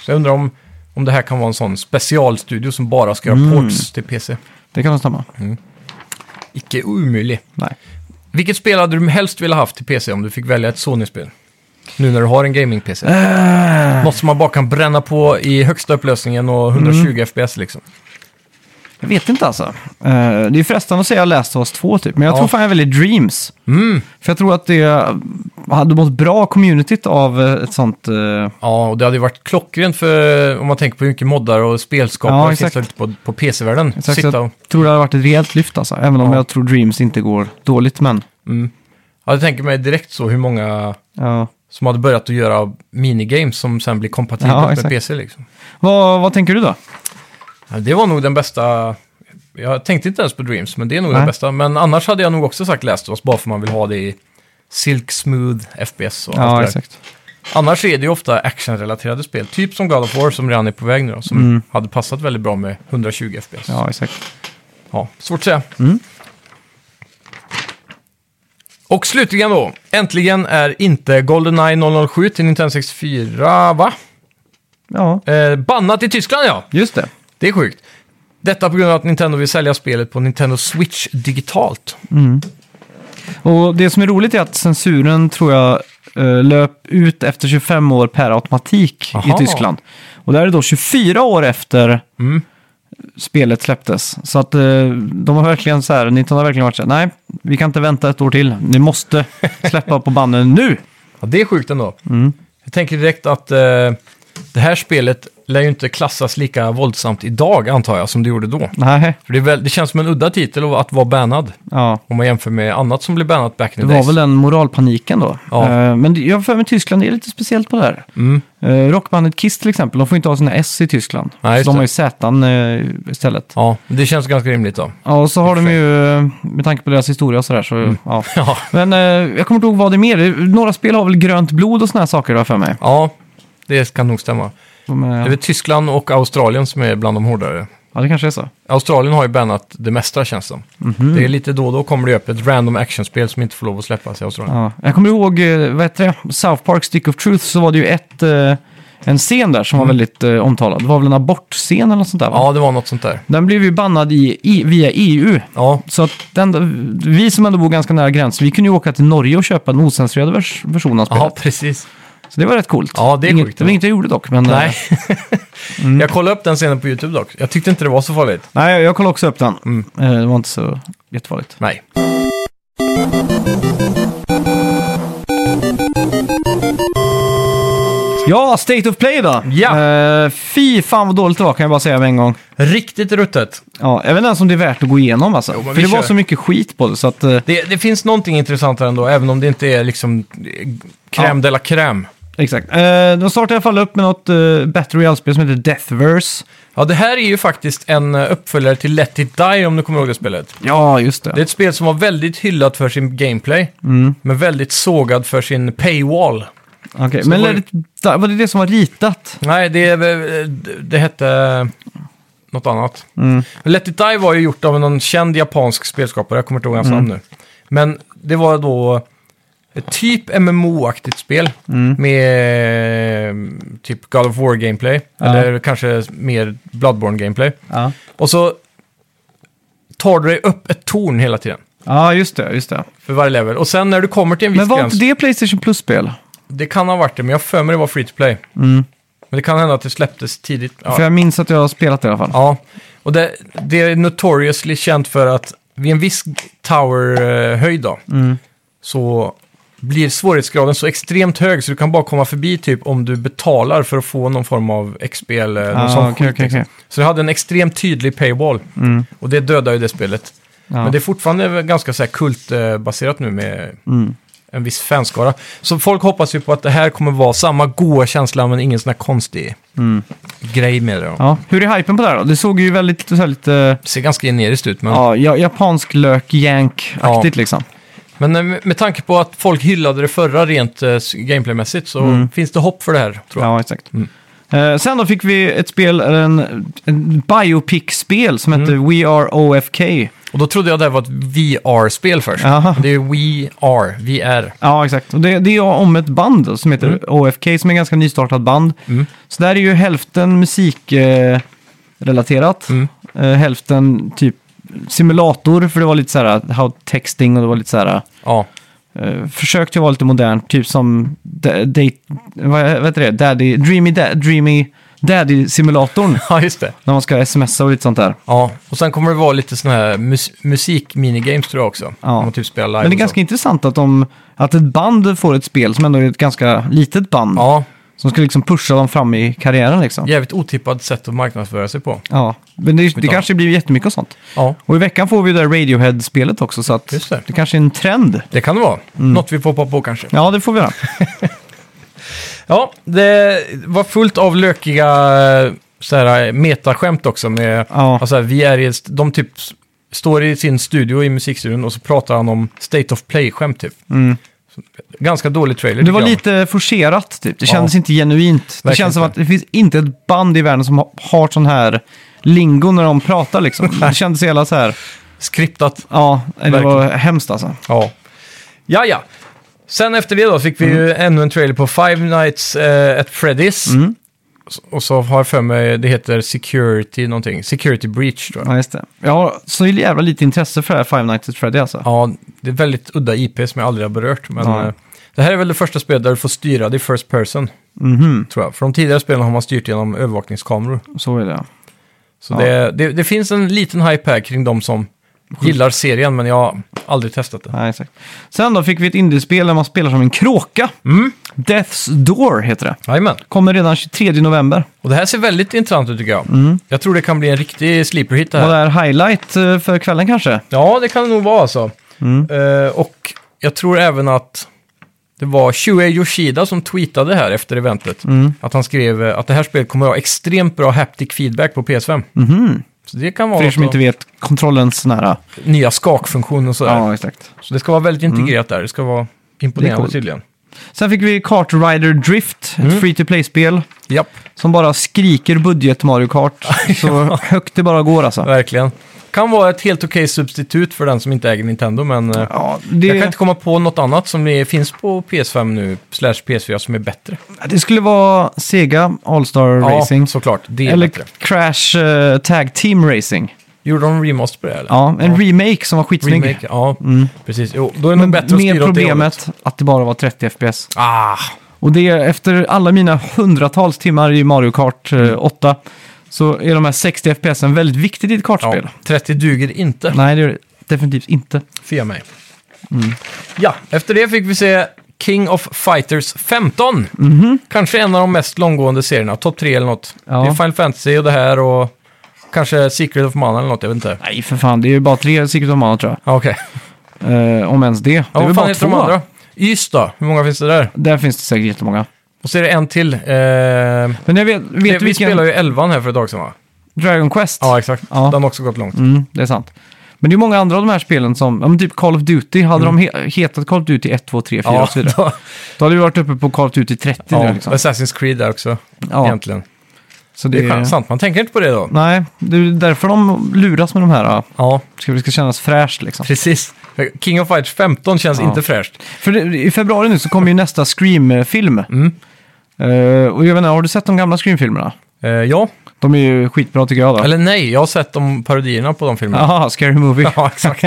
Speaker 2: Så jag undrar om, om det här kan vara en sån specialstudio som bara ska göra
Speaker 1: Mm.
Speaker 2: ports till PC.
Speaker 1: Det kan nog stämma.
Speaker 2: Icke omöjlig.
Speaker 1: Nej.
Speaker 2: Vilket spel hade du helst velat haft till PC om du fick välja ett Sony-spel? Nu när du har en gaming-PC.
Speaker 1: Äh.
Speaker 2: Något som man bara kan bränna på i högsta upplösningen
Speaker 1: Mm.
Speaker 2: och 120 FPS liksom.
Speaker 1: Jag vet inte alltså. Eh, det är frestande att säga Last of Us 2 typ, men jag
Speaker 2: Ja. Mm.
Speaker 1: tror fan jag väljer Dreams. För jag tror att det hade mått bra communityt av eh, ett sånt... eh,
Speaker 2: Ja, och det hade ju varit klockrent för, om man tänker på hur mycket moddar och
Speaker 1: Ja,
Speaker 2: spelskapare finns
Speaker 1: exakt.
Speaker 2: där ute på, på PC-världen.
Speaker 1: exakt,
Speaker 2: Sitta och,
Speaker 1: jag tror det hade varit ett rejält lyft alltså, även om
Speaker 2: Ja.
Speaker 1: jag tror Dreams inte går dåligt, men...
Speaker 2: ja, jag tänker mig direkt så hur många
Speaker 1: Ja.
Speaker 2: som hade börjat att göra minigames som sen blir kompatibla
Speaker 1: Ja,
Speaker 2: med
Speaker 1: exakt.
Speaker 2: PC liksom.
Speaker 1: Vad, vad tänker du då?
Speaker 2: Ja, Det var nog den bästa... Jag tänkte inte ens på Dreams, men det är nog
Speaker 1: Nej.
Speaker 2: den bästa. Men annars hade jag nog också sagt Last of Us, bara för man vill ha det i Silk Smooth, FPS och allt det
Speaker 1: Ja,
Speaker 2: där.
Speaker 1: exakt.
Speaker 2: Annars är det ju ofta actionrelaterade spel, typ som God of War som redan är på väg nu då, som hade passat väldigt bra med 120 FPS. Ja.
Speaker 1: Mm. Ja, Mm. exakt.
Speaker 2: svårt att säga. Och slutligen då, äntligen är inte Goldeneye 007 till Nintendo 64, va?
Speaker 1: Ja,
Speaker 2: Eh, bannat i Tyskland ja,
Speaker 1: just det.
Speaker 2: det är sjukt. Detta på grund av att Nintendo vill sälja spelet på Nintendo Switch digitalt.
Speaker 1: Och det som är roligt är att censuren tror jag eh, löp ut efter 25 år per automatik
Speaker 2: Aha.
Speaker 1: i Tyskland. Och där är det då 24 år efter
Speaker 2: Mm.
Speaker 1: spelet släpptes. Så att eh, de har verkligen så här, Nintendo har verkligen varit så här, nej, vi kan inte vänta ett år till. Ni måste släppa på banden nu.
Speaker 2: Ja, det är sjukt ändå.
Speaker 1: Mm.
Speaker 2: Jag tänker direkt att eh, det här spelet lär ju inte klassas lika våldsamt idag, antar jag, som det gjorde då.
Speaker 1: Nej,
Speaker 2: För det, är väl, det känns som en udda titel att vara bannad,
Speaker 1: ja.
Speaker 2: om man jämför med annat som blev bannat back in
Speaker 1: Det
Speaker 2: the
Speaker 1: var
Speaker 2: days.
Speaker 1: väl den moralpaniken då.
Speaker 2: Ja.
Speaker 1: Eh, Men det- jag har för mig Tyskland är lite speciellt på det här.
Speaker 2: Mm.
Speaker 1: Eh, Rockbandet Kiss till exempel, de får inte ha sina S i Tyskland.
Speaker 2: Nej, just
Speaker 1: så de har
Speaker 2: det.
Speaker 1: ju Z eh, istället.
Speaker 2: Ja, det känns ganska rimligt då.
Speaker 1: Ja, och så har
Speaker 2: I och
Speaker 1: de
Speaker 2: för
Speaker 1: ju, eh, med tanke på deras historia och sådär, så
Speaker 2: Mm.
Speaker 1: ja.
Speaker 2: Ja,
Speaker 1: Men eh, jag kommer inte ihåg vad det är mer. Några spel har väl grönt blod och sådana här saker, har jag för mig.
Speaker 2: ja det kan nog stämma.
Speaker 1: De,
Speaker 2: Det
Speaker 1: eh,
Speaker 2: är väl Tyskland och Australien som är bland de hårdare.
Speaker 1: Ja, det kanske är så.
Speaker 2: Australien har ju bannat det mesta känns det som.
Speaker 1: Mhm.
Speaker 2: Det är lite då och då kommer det upp ett random actionspel som inte får lov att släppas i Australien.
Speaker 1: Ja. Jag kommer ihåg, eh, vad heter det, South Park Stick of Truth, så var det ju ett, eh, en scen där som var väldigt eh, omtalad. Det var väl en abortscen eller något sånt där, va?
Speaker 2: Mm. Ja, det var något sånt där.
Speaker 1: Den blev ju bannad i, i, via EU.
Speaker 2: Ja,
Speaker 1: Så att den, vi som ändå bor ganska nära gränsen, vi kunde ju åka till Norge och köpa den ocensurerade vers, versionen av spelet.
Speaker 2: ja precis.
Speaker 1: Så det var rätt coolt.
Speaker 2: Ja, det är
Speaker 1: inget,
Speaker 2: sjukt,
Speaker 1: Det
Speaker 2: det var.
Speaker 1: var inget jag gjorde dock, men... eh,
Speaker 2: Nej.
Speaker 1: Mm.
Speaker 2: Jag kollade upp den scenen på YouTube dock. Jag tyckte inte det var så farligt.
Speaker 1: Nej, jag kollade också upp den.
Speaker 2: Mm.
Speaker 1: Eh, Det var inte så jättefarligt.
Speaker 2: Nej.
Speaker 1: Ja, State of Play då.
Speaker 2: Ja.
Speaker 1: Eh, fy fan vad dåligt det var kan jag bara säga med en gång.
Speaker 2: Riktigt ruttet.
Speaker 1: Ja, jag vet inte ens om det är värt att gå igenom alltså.
Speaker 2: Jo, men
Speaker 1: För
Speaker 2: vi
Speaker 1: det var
Speaker 2: kör.
Speaker 1: så mycket skit på det så att... eh,
Speaker 2: Det, det finns någonting intressant här ändå, även om det inte är liksom crème
Speaker 1: Ja.
Speaker 2: de la crème.
Speaker 1: exakt. Eh, de startade i alla fall upp med något uh, Battle Royale-spel som heter Deathverse.
Speaker 2: Ja, det här är ju faktiskt en eh, uppföljare till Let It Die om du kommer ihåg det spelet.
Speaker 1: Ja, just det.
Speaker 2: Det är ett spel som var väldigt hyllat för sin gameplay,
Speaker 1: Mm.
Speaker 2: men väldigt sågad för sin paywall.
Speaker 1: Okej,
Speaker 2: så
Speaker 1: Men
Speaker 2: var
Speaker 1: var det... var det det som var ritat?
Speaker 2: Nej, det, är väl- det hette något annat.
Speaker 1: Mm.
Speaker 2: Let It Die var ju gjort av någon känd japansk spelskapare, jag kommer inte ihåg
Speaker 1: Mm.
Speaker 2: hans namn nu. Men det var då ett typ MMO-aktigt spel
Speaker 1: Mm.
Speaker 2: med eh, typ God of War-gameplay,
Speaker 1: Ja.
Speaker 2: eller kanske mer Bloodborne-gameplay.
Speaker 1: Ja.
Speaker 2: Och så tar du dig upp ett torn hela tiden.
Speaker 1: Ja, just det, just det.
Speaker 2: För varje level. Och sen när du kommer till en viss
Speaker 1: Men var
Speaker 2: gräns...
Speaker 1: inte det Playstation Plus-spel?
Speaker 2: Det kan ha varit det, men jag har för mig det var free to play. Men det kan hända att det släpptes tidigt. Ja,
Speaker 1: Mm. För jag minns att jag har spelat det i alla fall.
Speaker 2: ja. och det, det är notoriously känt för att vid en viss tower-höjd då,
Speaker 1: Mm.
Speaker 2: så blir svårighetsgraden så extremt hög så du kan bara komma förbi typ om du betalar för att få någon form av XP eller någon
Speaker 1: Ah,
Speaker 2: sån
Speaker 1: okej,
Speaker 2: skit.
Speaker 1: okej,
Speaker 2: liksom.
Speaker 1: okej. Mm.
Speaker 2: Så det hade en extremt tydlig paywall och det dödar ju det spelet.
Speaker 1: Ja.
Speaker 2: Men det är fortfarande ganska så här kultbaserat nu med
Speaker 1: Mm.
Speaker 2: en viss fanskara. Så folk hoppas ju på att det här kommer vara samma goa känsla men ingen sån här konstig grej med det. då.
Speaker 1: Mm. Ja. Hur är hypen på det här då? Det såg ju väldigt, eh, så här, lite...
Speaker 2: Det ser ganska generiskt ut men,
Speaker 1: Ja, ja, japansk lök jank-aktigt liksom.
Speaker 2: men eh, med tanke på att folk hyllade det förra rent eh, gameplaymässigt så finns det hopp för det här tror jag.
Speaker 1: Mm. Ja, exakt. Eh, sen då fick vi ett spel, eller en, en biopic-spel som hette We Are OFK.
Speaker 2: Och då trodde jag det här var ett VR-spel först.
Speaker 1: Aha.
Speaker 2: Det är VR, VR.
Speaker 1: Ja, exakt. Och det, det är om ett band då, som heter OFK, som är en ganska nystartat band. Så där är ju hälften musikrelaterat, eh, relaterat. eh, hälften typ simulator, för det var lite så här eh, how texting och det var lite så här...
Speaker 2: Ja,
Speaker 1: Eh, försökte vara lite modern, typ som da- date, vad, vad heter det? Daddy, Dreamy, da, Dreamy Daddy-simulatorn.
Speaker 2: ja just det.
Speaker 1: när man ska smsa och lite sånt där.
Speaker 2: Ja, och sen kommer det vara lite sån här mus- musik-minigames tror jag också.
Speaker 1: Ja.
Speaker 2: Om man typ spelar live
Speaker 1: Men det är
Speaker 2: och så.
Speaker 1: ganska intressant att, de, att ett band får ett spel som ändå är ett ganska litet band.
Speaker 2: Ja,
Speaker 1: Som ska liksom pusha dem fram i karriären liksom. Ja,
Speaker 2: jävligt otippad sätt att marknadsföra sig på.
Speaker 1: men det, det kanske blir jättemycket och sånt.
Speaker 2: Ja,
Speaker 1: Och i veckan får vi det där Radiohead-spelet också, så att
Speaker 2: Just det.
Speaker 1: kanske är en trend.
Speaker 2: det kan det vara.
Speaker 1: Mm.
Speaker 2: Något vi får hoppa på kanske.
Speaker 1: Ja, det får vi göra.
Speaker 2: Ja, det var fullt av lökiga eh, så här, metaskämt också. Med,
Speaker 1: Ja.
Speaker 2: alltså, vi är i, ett- de typ s- står i sin studio i musikstudion och så pratar han om state of play-skämt typ. Så ganska dålig trailer.
Speaker 1: Mm. Det
Speaker 2: tycker
Speaker 1: var
Speaker 2: jag.
Speaker 1: lite forcerat typ. Det
Speaker 2: Ja.
Speaker 1: kändes inte genuint. Det
Speaker 2: Verkligen
Speaker 1: känns som
Speaker 2: inte.
Speaker 1: att det finns inte ett band i världen som ha- har sån här lingo när de pratar liksom. Det kändes hela så här.
Speaker 2: Skriptat.
Speaker 1: Ja, det var
Speaker 2: Verkligen.
Speaker 1: hemskt alltså.
Speaker 2: Ja. Ja, ja. Sen efter det då fick vi ju ännu en trailer på Five Nights eh, at Freddy's.
Speaker 1: Mm.
Speaker 2: Och så har jag för mig, det heter Security någonting. Security Breach tror jag.
Speaker 1: Ja, just det. Jag har så jävla lite intresse för det här Five Nights at Freddy alltså.
Speaker 2: Ja, det är väldigt udda IP som jag aldrig har berört. Men
Speaker 1: Ja.
Speaker 2: eh, det här är väl det första spelet där du får styra det i First Person,
Speaker 1: Mhm,
Speaker 2: tror jag. För de tidigare spelen har man styrt genom övervakningskameror.
Speaker 1: så är det. ja.
Speaker 2: Så
Speaker 1: Ja.
Speaker 2: det, det, det finns en liten hype här kring de som gillar serien, men jag har aldrig testat det.
Speaker 1: Ja, exakt. Sen då fick vi ett indiespel där man spelar som en kråka.
Speaker 2: Mm.
Speaker 1: Death's Door heter det.
Speaker 2: Jajamän.
Speaker 1: Kommer redan 23 november.
Speaker 2: Och det här ser väldigt intressant ut tycker jag.
Speaker 1: Mm.
Speaker 2: Jag tror det kan bli en riktig sleeper hit det här.
Speaker 1: Vad är highlight eh, för kvällen kanske?
Speaker 2: Ja, det kan det nog vara alltså.
Speaker 1: Mm.
Speaker 2: Eh, och jag tror även att det var Shuei Yoshida som tweetade här efter eventet.
Speaker 1: Mm.
Speaker 2: Att han skrev eh, att det här spelet kommer att ha extremt bra haptic feedback på PS5.
Speaker 1: Mhm.
Speaker 2: Så det kan vara
Speaker 1: För er som
Speaker 2: något
Speaker 1: inte vet, kontrollens nära.
Speaker 2: av nya skakfunktioner och sådär.
Speaker 1: Ja, exakt.
Speaker 2: Så det ska vara väldigt integrerat där. Det ska vara
Speaker 1: Det är
Speaker 2: imponerande
Speaker 1: coolt.
Speaker 2: tydligen.
Speaker 1: Sen fick vi Kart Rider Drift,
Speaker 2: Mm.
Speaker 1: ett free-to-play-spel
Speaker 2: Japp,
Speaker 1: som bara skriker budget Mario Kart. så högt det bara går alltså.
Speaker 2: verkligen. Kan vara ett helt okej substitut för den som inte äger Nintendo, men eh,
Speaker 1: Ja, det,
Speaker 2: jag kan inte komma på något annat som det finns på PS5 nu, slash PS4, som är bättre.
Speaker 1: det skulle vara Sega All-Star
Speaker 2: Ja,
Speaker 1: Racing.
Speaker 2: såklart. Det är
Speaker 1: Eller
Speaker 2: bättre.
Speaker 1: Crash eh, Tag Team Racing.
Speaker 2: Gjorde de remaster på det eller?
Speaker 1: Ja, en remake som var skitsnygg.
Speaker 2: Remake, ja. Precis. Jo, då är det nog
Speaker 1: Men
Speaker 2: bättre att
Speaker 1: med
Speaker 2: styra åt det hållet.
Speaker 1: problemet att det bara var 30 FPS.
Speaker 2: Ah,
Speaker 1: Och det är efter alla mina hundratals timmar i Mario Kart eh,
Speaker 2: Mm.
Speaker 1: 8 så är de här 60 FPS en väldigt viktig i ett kartspel.
Speaker 2: ja. 30 duger inte
Speaker 1: Nej, Mm. det är det definitivt inte.
Speaker 2: för mig. Ja, efter det fick vi se King of Fighters 15. Kanske en av de mest långgående serierna, topp tre eller något.
Speaker 1: Mhm. Ja.
Speaker 2: Det är Final Fantasy och det här och kanske Secret of Mana eller något, jag vet inte.
Speaker 1: Nej, för fan. Det är ju bara tre Secret of Mana, tror jag.
Speaker 2: Ah, Okej.
Speaker 1: Eh, om ens det. det
Speaker 2: Ja,
Speaker 1: är väl
Speaker 2: vad fan
Speaker 1: bara
Speaker 2: heter de
Speaker 1: två.
Speaker 2: andra? Just då, hur många finns det där?
Speaker 1: Där finns det säkert jättemånga.
Speaker 2: Och så är det en till. Eh,
Speaker 1: Men jag vet,
Speaker 2: vi
Speaker 1: vet du
Speaker 2: vi
Speaker 1: vilken?
Speaker 2: spelar ju 11 här för ett tag sedan va?
Speaker 1: Dragon Quest.
Speaker 2: Ja, exakt.
Speaker 1: Ja.
Speaker 2: Den har också gått långt.
Speaker 1: Mm, det är sant. Men det är många andra av de här spelen som, ja, men typ Call of Duty, hade
Speaker 2: Mm.
Speaker 1: de he- hetat Call of Duty 1, 2, 3, 4 och så vidare.
Speaker 2: då-
Speaker 1: Då hade vi varit uppe på Call of Duty 30
Speaker 2: Ja,
Speaker 1: nu liksom.
Speaker 2: Assassin's Creed där också,
Speaker 1: Ja,
Speaker 2: egentligen.
Speaker 1: så
Speaker 2: Det är skönt, sant, man tänker inte på det då.
Speaker 1: Nej, det är därför de luras med de här. ja.
Speaker 2: Ja,
Speaker 1: Ska, det ska kännas fräscht liksom.
Speaker 2: precis. King of Fighters 15 känns
Speaker 1: Ja.
Speaker 2: inte fräscht.
Speaker 1: För det, i februari nu så kommer ju nästa Scream-film.
Speaker 2: Mm.
Speaker 1: Eh, och jag vet inte, har du sett de gamla Scream-filmerna?
Speaker 2: Eh, ja,
Speaker 1: De är ju skitbra tycker jag då.
Speaker 2: eller nej, jag har sett de parodierna på de filmerna.
Speaker 1: Jaha, Scary Movie.
Speaker 2: Ja, exakt.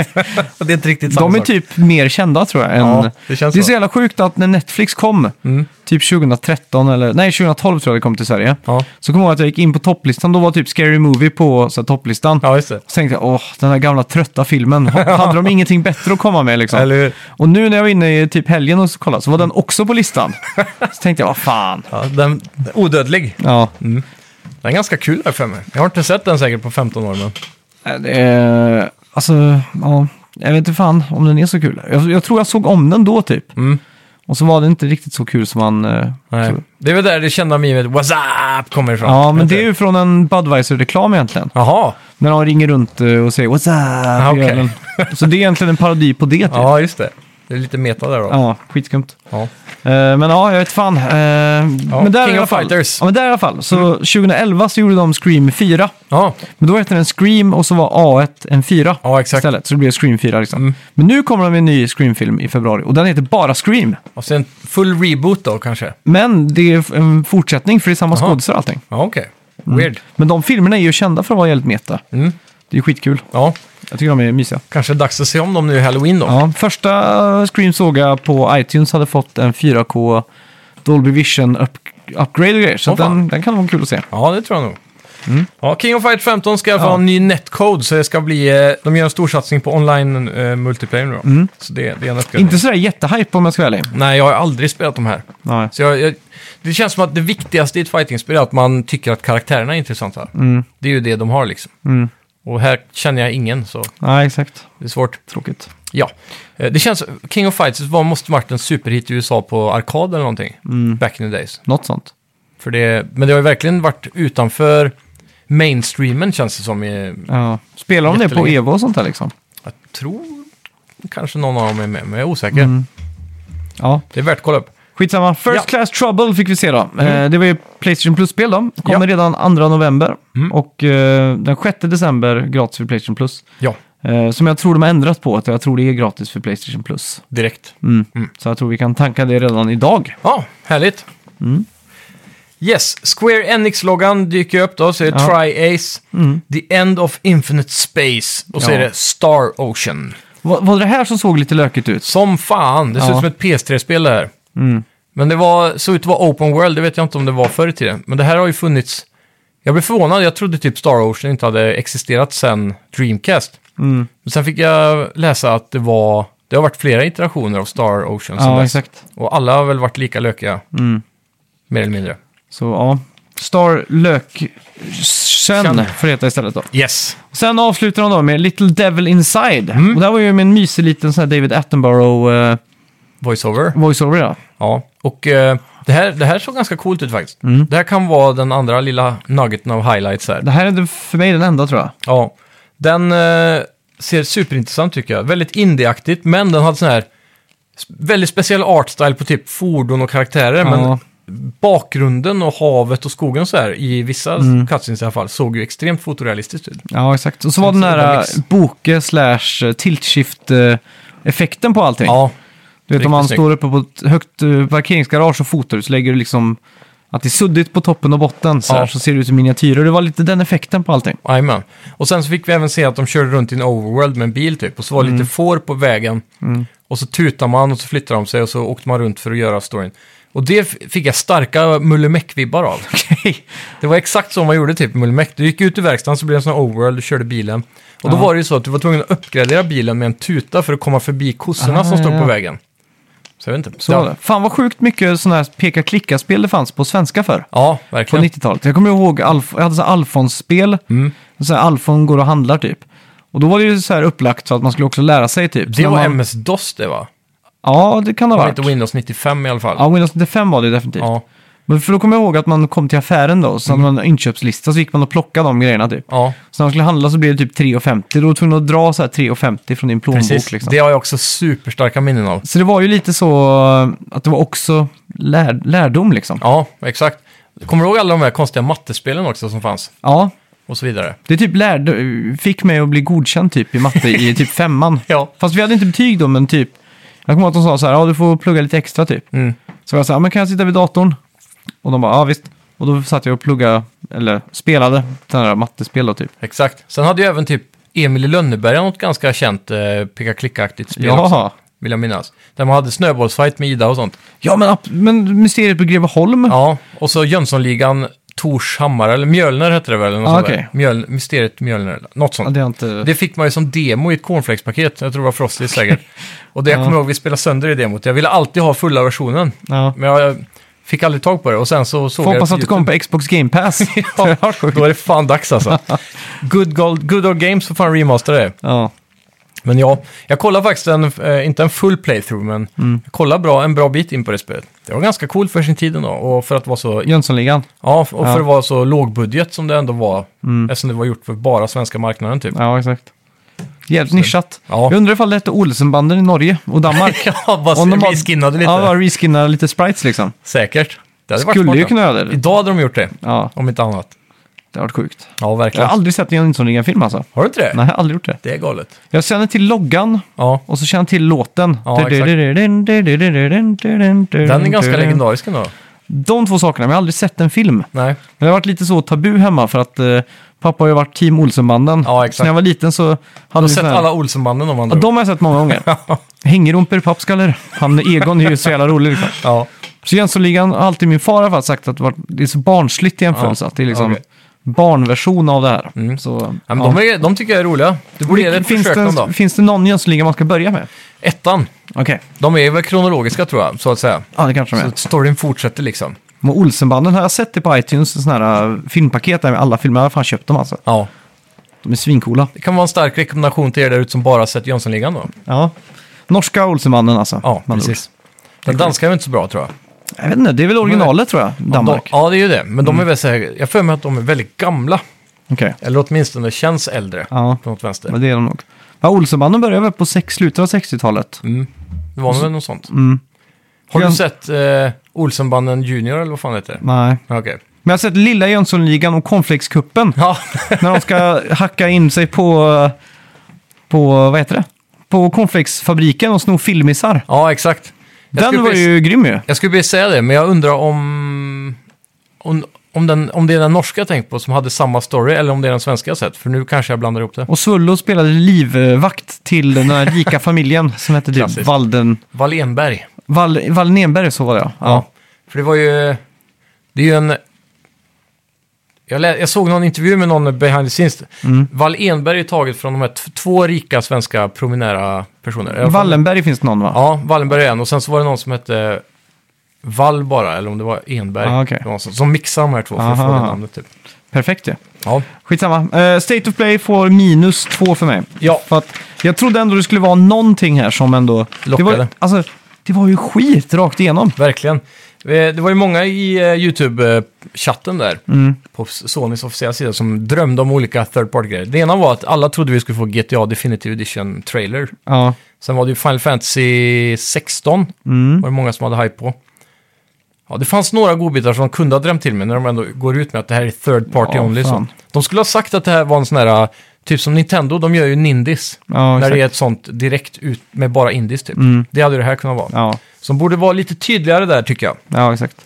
Speaker 2: det är inte riktigt samma
Speaker 1: De är
Speaker 2: sak.
Speaker 1: typ mer kända tror jag. Än...
Speaker 2: Ja, det känns
Speaker 1: det är
Speaker 2: så.
Speaker 1: så jävla sjukt att när Netflix kom,
Speaker 2: Mm.
Speaker 1: typ 2013 eller nej 2012 tror jag det kom till Sverige.
Speaker 2: Ja.
Speaker 1: Så kommer jag ihåg att jag gick in på topplistan, då var typ Scary Movie på så här, topplistan.
Speaker 2: ja, just det.
Speaker 1: Så tänkte jag, åh, den här gamla trötta filmen, hade de ingenting bättre att komma med liksom?
Speaker 2: Eller hur?
Speaker 1: Och nu när jag var inne i typ helgen och så kollade så var den också på listan. Så tänkte jag, vad fan.
Speaker 2: Ja, den, odödlig.
Speaker 1: Ja,
Speaker 2: Den är ganska kul här för mig. Jag har inte sett den säkert på 15 år, men
Speaker 1: det är, alltså, ja, jag vet inte fan om den är så kul. Jag, jag tror jag såg om den då typ.
Speaker 2: Mm.
Speaker 1: Och så var den inte riktigt så kul som man... eh,
Speaker 2: nej.
Speaker 1: trodde.
Speaker 2: Det är väl där det kända mimet What's up kommer ifrån.
Speaker 1: Ja, men
Speaker 2: Vet
Speaker 1: det är
Speaker 2: du?
Speaker 1: ju från en Budweiser-reklam egentligen.
Speaker 2: Jaha,
Speaker 1: När de ringer runt eh, och säger “What's up?”
Speaker 2: Ah,
Speaker 1: i
Speaker 2: okej.
Speaker 1: ölen. Så det är egentligen en parodi på det typ. Ja,
Speaker 2: ja just det. Det är lite meta där då.
Speaker 1: skitskumt.
Speaker 2: Ja.
Speaker 1: Eh, men ja, jag vet fan. Eh, men där
Speaker 2: King
Speaker 1: i alla
Speaker 2: of
Speaker 1: fall,
Speaker 2: Fighters.
Speaker 1: Ja,
Speaker 2: Mm.
Speaker 1: men där i alla fall. Så 2011 så gjorde de Scream 4.
Speaker 2: Ja.
Speaker 1: Men då hette den Scream och så var A1 en 4
Speaker 2: Ja, exakt. Mm.
Speaker 1: istället. Så det blev Scream 4 liksom. Men nu kommer de med en ny Scream-film i februari och den heter bara Scream.
Speaker 2: Och sen full reboot då kanske?
Speaker 1: Men det är en fortsättning för det är samma
Speaker 2: Aha.
Speaker 1: skådisar och allting.
Speaker 2: Ja, okej. Weird.
Speaker 1: Men de filmerna är ju kända för att vara jävligt meta.
Speaker 2: Mm.
Speaker 1: Det är skitkul.
Speaker 2: Ja,
Speaker 1: Jag tycker de är mysiga.
Speaker 2: kanske dags att se om dem nu i Halloween då.
Speaker 1: Ja, första Scream såg jag på iTunes hade fått en 4K Dolby Vision up upgrade och grejer. Så
Speaker 2: Åh, fan.
Speaker 1: den, den kan vara kul att se.
Speaker 2: Ja, det tror jag nog. Ja, King of Fighters 15 ska i alla fall
Speaker 1: Mm. Ja.
Speaker 2: ha en ny netcode, så det ska bli... eh, De gör en storsatsning på online eh, multiplayer nu då. Så det, det är en uppgradering.
Speaker 1: Mm. Inte sådär jättehype om jag ska vara ärlig.
Speaker 2: Nej, jag har aldrig spelat de här.
Speaker 1: Nej.
Speaker 2: Så jag, jag, det känns som att det viktigaste i ett fightingspel är att man tycker att karaktärerna är intressanta.
Speaker 1: Mm.
Speaker 2: Det är ju det de har liksom. Och här känner jag ingen, så
Speaker 1: Nej, exakt.
Speaker 2: det är svårt.
Speaker 1: Tråkigt.
Speaker 2: Ja, Eh, det känns... King of Fighters var, måste varit en superhit i USA på arkad eller någonting.
Speaker 1: Mm.
Speaker 2: Back in the days.
Speaker 1: Något sånt.
Speaker 2: För det, men det har ju verkligen varit utanför mainstreamen känns det som. I,
Speaker 1: Ja. Spelar de det på
Speaker 2: Jättelänge.
Speaker 1: Evo och sånt där liksom?
Speaker 2: jag tror kanske någon av dem är med, men jag är osäker.
Speaker 1: Mm. Ja.
Speaker 2: Det är värt att kolla upp.
Speaker 1: Skitsamma. First
Speaker 2: Ja.
Speaker 1: Class Trouble fick vi se då. Eh, det var ju Playstation Plus-spel då. Kommer redan 2 november. Och eh, den 6 december gratis för Playstation Plus.
Speaker 2: Ja,
Speaker 1: Eh, som jag tror de har ändrat på, att jag tror det är gratis för Playstation Plus.
Speaker 2: direkt.
Speaker 1: Mm. Så jag tror vi kan tanka det redan idag.
Speaker 2: Ja, härligt.
Speaker 1: Mm.
Speaker 2: Yes, Square Enix-loggan dyker upp då, så är det
Speaker 1: Ja. Mm.
Speaker 2: Tri-Ace, The End of Infinite Space och så
Speaker 1: Ja.
Speaker 2: är det Star Ocean.
Speaker 1: Var, var det här som såg lite lökigt ut?
Speaker 2: Som fan, det ser
Speaker 1: Ja. Mm.
Speaker 2: ut som ett PS3-spel det här. Men det var, såg ut att vara open world, det vet jag inte om det var förr i tiden. Men det här har ju funnits... Jag blev förvånad, jag trodde typ Star Ocean inte hade existerat sedan Dreamcast.
Speaker 1: Mm.
Speaker 2: Men sen fick jag läsa att det var... Det har varit flera iterationer av Star Ocean sedan
Speaker 1: Ja,
Speaker 2: dess.
Speaker 1: exakt. Mm.
Speaker 2: Och alla har väl varit lika lökiga. Mer eller mindre.
Speaker 1: Så ja, Star Lök
Speaker 2: Kön.
Speaker 1: Sen får det heta istället då.
Speaker 2: Yes.
Speaker 1: Sen avslutar de då med Little Devil Inside. Och det här var ju med en mysig liten sån här David Attenborough eh,
Speaker 2: Voiceover.
Speaker 1: voiceover. Ja.
Speaker 2: Ja. Och eh, det, här, det här såg ganska coolt ut faktiskt.
Speaker 1: Mm.
Speaker 2: Det här kan vara den andra lilla nuggeten av highlights här.
Speaker 1: Det här är det- för mig den enda tror jag.
Speaker 2: Ja, den eh, ser superintressant tycker jag. Väldigt indieaktigt, men den hade sån här s- väldigt speciell artstyle på typ fordon och karaktärer.
Speaker 1: Ja.
Speaker 2: Men bakgrunden och havet och skogen och så här, i vissa mm. cutscenes i alla fall, såg ju extremt fotorealistiskt ut.
Speaker 1: Ja, exakt. Och så var
Speaker 2: Sen
Speaker 1: den
Speaker 2: så är det
Speaker 1: där
Speaker 2: mix.
Speaker 1: boke slash tiltshift effekten på allting.
Speaker 2: Ja,
Speaker 1: du vet om
Speaker 2: riktigt
Speaker 1: man
Speaker 2: snyggt.
Speaker 1: står uppe på ett högt eh, parkeringsgarage och fotar så lägger du liksom att det är suddigt på toppen och botten så, här,
Speaker 2: Ja.
Speaker 1: så ser det ut som miniatyrer. Det var lite den effekten på allting.
Speaker 2: jajamän. Och sen så fick vi även se att de körde runt i en overworld med en bil typ. Och så var
Speaker 1: Mm.
Speaker 2: det lite får på vägen. Och så tutar man och så flyttar de sig och så åkte man runt för att göra storyn. Och det f- fick jag starka Mulle Meck-vibbar av. Det var exakt så man gjorde typ i Mulmec. Du gick ut i verkstaden så blev det en sån här overworld, du körde bilen. Och då
Speaker 1: Ja.
Speaker 2: var det ju så att du var tvungen att uppgradera bilen med en tuta för att komma förbi kossorna
Speaker 1: Ah,
Speaker 2: som stod
Speaker 1: ja.
Speaker 2: på vägen. Så jag vet inte.
Speaker 1: Så var det. Fan vad sjukt mycket sådana här peka-klicka-spel det fanns på svenska för.
Speaker 2: Ja, Mm.
Speaker 1: På
Speaker 2: verkligen.
Speaker 1: 90-talet. Jag kommer ihåg, Alf- jag hade så här Alfons-spel. Så här Alfon går och handlar typ. Och då var det ju så här upplagt så att man skulle också lära sig typ. Så
Speaker 2: Det
Speaker 1: när
Speaker 2: var
Speaker 1: man...
Speaker 2: MS-DOS det va?
Speaker 1: Ja, det kan det
Speaker 2: Det
Speaker 1: ha
Speaker 2: var inte
Speaker 1: varit.
Speaker 2: Windows 95 i alla fall.
Speaker 1: Ja, Windows 95 var det definitivt.
Speaker 2: Ja,
Speaker 1: Men för då kommer jag ihåg att man kom till affären då, så hade man en inköpslista så gick man och plockade de grejerna typ.
Speaker 2: Mm. ja.
Speaker 1: Så när man skulle handla så blev det typ 3,50. Då var du tvungen att dra så här 3,50 från din plånbok
Speaker 2: precis.
Speaker 1: liksom.
Speaker 2: Det har jag också superstarka minnen av.
Speaker 1: Så det var ju lite så eh, att det var också lär... lärdom liksom. Ja.
Speaker 2: Ja, exakt. Kommer du ihåg alla de här konstiga mattespelen också som fanns? Och så vidare.
Speaker 1: det typ lärde... fick mig att bli godkänd typ i matte i typ femman.
Speaker 2: Ja.
Speaker 1: Fast vi hade inte betyg då, men typ... Jag kommer ihåg att de sa så här, ja du får plugga lite extra typ.
Speaker 2: Mm.
Speaker 1: Så jag sa, "Ja, men kan jag sitta vid datorn? Och de bara, ja visst. Och då satt jag och pluggade, eller spelade, den där mattespel då typ.
Speaker 2: Exakt. Sen hade ju även typ Emil i Lönneberga något ganska känt eh, peka-klicka-aktigt spel också.
Speaker 1: Jaha.
Speaker 2: vill jag minnas. Där man hade snöbollsfight med Ida och sånt.
Speaker 1: Ja, men, ab- men mysteriet på Greveholm.
Speaker 2: Ja, och så Jönssonligan, Torshammar, eller Mjölner hette det väl? Eller något
Speaker 1: Ja,
Speaker 2: sånt där.
Speaker 1: Ah, okej.
Speaker 2: Mjöl, mysteriet Mjölner, eller något
Speaker 1: Ja,
Speaker 2: sånt.
Speaker 1: det är inte...
Speaker 2: Det fick man ju som demo i ett cornflakespaket. Jag tror det var Frosty säkert. Och det jag kommer ihåg, vi spelade sönder i demot. Jag ville alltid ha fulla versionen.
Speaker 1: Ja.
Speaker 2: Men jag fick aldrig tag på det. Och sen så såg
Speaker 1: Får
Speaker 2: jag
Speaker 1: hoppas
Speaker 2: på
Speaker 1: att det kommer på Xbox Game Pass.
Speaker 2: YouTube. Ja, då är det fan dags alltså. Good, gold, good Old Games får fan remastera det.
Speaker 1: ja.
Speaker 2: Men ja, jag kollade faktiskt en, eh, inte en full playthrough, men
Speaker 1: Mm.
Speaker 2: jag kollade bra, en bra bit in på det spelet. Det var ganska coolt för sin tid ändå, och för att vara så,
Speaker 1: Jönssonligan.
Speaker 2: ja, och för
Speaker 1: Ja. Mm.
Speaker 2: att vara så lågbudget som det ändå var, eftersom det var gjort för bara svenska marknaden typ.
Speaker 1: Ja, exakt. Jävligt nischat.
Speaker 2: Ja.
Speaker 1: Jag undrar ifall det hette Olsenbanden i Norge och Danmark.
Speaker 2: Ja, bara
Speaker 1: Om de bara-
Speaker 2: reskinnade lite.
Speaker 1: ja, bara reskinnade lite sprites liksom.
Speaker 2: Säkert. Det hade
Speaker 1: Skulle
Speaker 2: varit
Speaker 1: ju
Speaker 2: smart,
Speaker 1: kunna
Speaker 2: ja.
Speaker 1: göra det.
Speaker 2: Idag hade de gjort det,
Speaker 1: Ja,
Speaker 2: om inte annat.
Speaker 1: det har varit sjukt.
Speaker 2: Ja,
Speaker 1: Jag
Speaker 2: verkligen.
Speaker 1: har aldrig sett en Jönssonligan-film alltså.
Speaker 2: Har du inte det?
Speaker 1: Nej, jag har aldrig gjort det.
Speaker 2: Det är galet.
Speaker 1: Jag känner till loggan
Speaker 2: Ja,
Speaker 1: och så känner jag till låten.
Speaker 2: Ja, exakt.
Speaker 1: Mm,
Speaker 2: den är ganska legendarisk ändå.
Speaker 1: De två sakerna, men jag har aldrig sett en film.
Speaker 2: Nej,
Speaker 1: Men det har varit lite så tabu hemma för att eh, pappa har ju varit team Olsenbanden.
Speaker 2: Ja, exakt.
Speaker 1: Så när jag var liten så hade
Speaker 2: har
Speaker 1: vi
Speaker 2: sett
Speaker 1: sån här-
Speaker 2: alla Olsenbanden om man
Speaker 1: Ja, de har jag sett många gånger. Hängrumpor, pappskallar. Han Egon är ju så jävla rolig. Liksom.
Speaker 2: Ja,
Speaker 1: Så Jönssonligan har alltid min far i alla fall sagt att det var- det är så barnsligt i jämförelse.
Speaker 2: Ja,
Speaker 1: Att det är liksom
Speaker 2: okej.
Speaker 1: barnversion av det här.
Speaker 2: Mm.
Speaker 1: Så,
Speaker 2: ja, men De, är, de tycker jag är roliga. Du borde ge det ett
Speaker 1: finns,
Speaker 2: försök någon
Speaker 1: det,
Speaker 2: dag.
Speaker 1: finns det någon Jönssonligan man ska börja med?
Speaker 2: Ettan.
Speaker 1: Okej,
Speaker 2: De är väl kronologiska tror jag, så att säga.
Speaker 1: ja det kanske de
Speaker 2: Så
Speaker 1: är.
Speaker 2: att storyn fortsätter liksom.
Speaker 1: Men Olsenbanden har jag sett det på iTunes, en sån här äh, filmpaket där med alla filmer. Jag har fan köpt dem alltså.
Speaker 2: Ja.
Speaker 1: De är svincoola.
Speaker 2: Det kan vara en stark rekommendation till er där ute som bara sett Jönssonligan då.
Speaker 1: Ja. Norska Olsenbanden alltså.
Speaker 2: Ja,
Speaker 1: med andra
Speaker 2: precis. Den danska är väl inte så bra tror jag.
Speaker 1: ord. Jag vet inte, det är väl originalet tror jag, Danmark. Mm.
Speaker 2: De, ja, det är ju det. Men de är väl så här, jag har för mig att de är väldigt gamla.
Speaker 1: Okej,
Speaker 2: Eller åtminstone känns äldre.
Speaker 1: Ja.
Speaker 2: På något vänster.
Speaker 1: men det är de nog.
Speaker 2: Mm.
Speaker 1: Ja, Olsenbanden började väl på sex, slutet av 60-talet.
Speaker 2: Det var väl något sånt. Har du
Speaker 1: Mm. Jag-
Speaker 2: sett eh, Olsenbanden Junior eller vad fan det heter?
Speaker 1: Nej.
Speaker 2: Okej.
Speaker 1: Men jag har sett Lilla Jönssonligan och Cornflakescupen.
Speaker 2: Ja,
Speaker 1: när de ska hacka in sig på, på vad heter det? På cornflakesfabriken och sno filmisar.
Speaker 2: ja exakt. Jag
Speaker 1: Den
Speaker 2: skulle
Speaker 1: var
Speaker 2: precis-
Speaker 1: ju grym ju.
Speaker 2: Jag skulle vilja säga det, men jag undrar om... Om, om, den, om det är den norska jag tänkt på som hade samma story, eller om det är den svenska jag sett. För nu kanske jag blandar ihop det.
Speaker 1: Och Svullo spelade livvakt till den här rika familjen som hette typ
Speaker 2: Klassiskt.
Speaker 1: Walden...
Speaker 2: Wallenberg.
Speaker 1: Wall, Wallnerberg, så var det ja. ja.
Speaker 2: Ja. För det var ju... Det är ju en... Jag, lä, jag såg någon intervju med någon behind the scenes.
Speaker 1: Mm.
Speaker 2: Wallenberg är taget från de här t- två rika svenska prominära personer. Jag-
Speaker 1: Wallenberg finns det någon va?
Speaker 2: Ja, Wallenberg är en. Och sen så var det någon som hette Wall bara, eller om det var Enberg.
Speaker 1: Ah, okej.
Speaker 2: Det var någon som, som mixade de här två för att få
Speaker 1: Aha.
Speaker 2: det namnet typ.
Speaker 1: Perfekt ju. Ja.
Speaker 2: Ja.
Speaker 1: Skitsamma. Eh, State of Play får minus två för mig.
Speaker 2: Ja.
Speaker 1: För att jag trodde ändå det skulle vara någonting här som ändå... Det var,
Speaker 2: Lockade.
Speaker 1: alltså, det var ju skit rakt igenom.
Speaker 2: Verkligen. Eh, Det var ju många i eh, YouTube-chatten där,
Speaker 1: Mm.
Speaker 2: på Sonys officiella sida, som drömde om olika third party-grejer. Det ena var att alla trodde vi skulle få GTA Definitive Edition-trailer.
Speaker 1: Ja.
Speaker 2: Sen var det ju Final Fantasy 16,
Speaker 1: Mm.
Speaker 2: var det många som hade hype på. Ja, det fanns några godbitar som de kunde ha drömt till med när de ändå går ut med att det här är third party
Speaker 1: Ja,
Speaker 2: only. Så.
Speaker 1: fan.
Speaker 2: De skulle ha sagt att det här var en sån här, eh, typ som Nintendo, de gör ju Nindis.
Speaker 1: Ja, exakt.
Speaker 2: när
Speaker 1: Mm.
Speaker 2: det är ett sånt direkt ut med bara Indies typ. Det hade det här kunnat vara.
Speaker 1: Ja.
Speaker 2: Som borde vara lite tydligare där tycker jag.
Speaker 1: ja, exakt.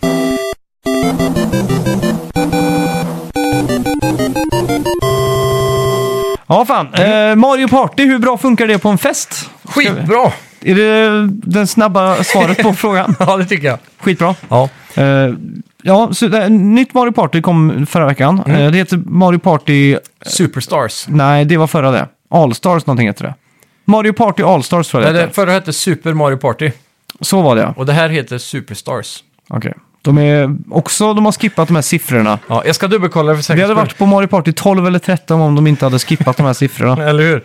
Speaker 1: Ja, fan. Eh, Mario Party, hur bra funkar det på en fest?
Speaker 2: Skitbra!
Speaker 1: Är det det snabba svaret på frågan?
Speaker 2: Ja, det tycker jag.
Speaker 1: Skitbra.
Speaker 2: Ja,
Speaker 1: Eh, ja, så, eh, nytt Mario Party kom förra veckan. Eh, det heter Mario Party...
Speaker 2: Superstars.
Speaker 1: Nej, det var förra det. Allstars någonting heter det. Mario Party Allstars tror jag
Speaker 2: Nej,
Speaker 1: det
Speaker 2: det
Speaker 1: heter.
Speaker 2: förra hette Super Mario Party
Speaker 1: Så var det ja.
Speaker 2: och det här heter Superstars.
Speaker 1: Okej. De är också, de har skippat de här siffrorna.
Speaker 2: Ja, jag ska dubbelkolla det för
Speaker 1: Vi
Speaker 2: säkerhets
Speaker 1: hade varit på Mario Party 12 eller 13 om de inte hade skippat de här siffrorna.
Speaker 2: Eller hur?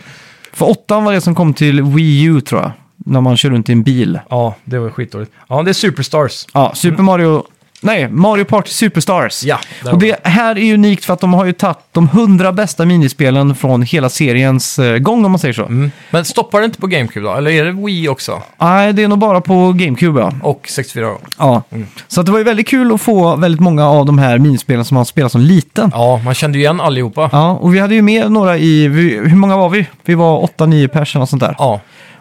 Speaker 1: För åttan var det som kom till Wii U tror jag. När man kör runt i en bil.
Speaker 2: Ja, det var skitdåligt. Ja, det är Superstars.
Speaker 1: Ja, Super Mario... Nej, Mario Party Superstars.
Speaker 2: Mm. Ja, där
Speaker 1: Och
Speaker 2: var
Speaker 1: det här är unikt för att de har ju tagit de hundra bästa minispelen från hela seriens eh, gång om man säger så.
Speaker 2: Mm. Men stoppar det inte på GameCube då? Eller är det Wii också?
Speaker 1: Nej, det är nog bara på GameCube ja.
Speaker 2: Och 64 då?
Speaker 1: ja.
Speaker 2: Mm.
Speaker 1: Så att det var ju väldigt kul att få väldigt många av de här minispelen som man spelade som liten. Ja.
Speaker 2: Ja, man kände ju igen allihopa. Ja.
Speaker 1: och vi hade ju med några i, vi, hur många var vi? Vi var 8-9 personer och sånt där.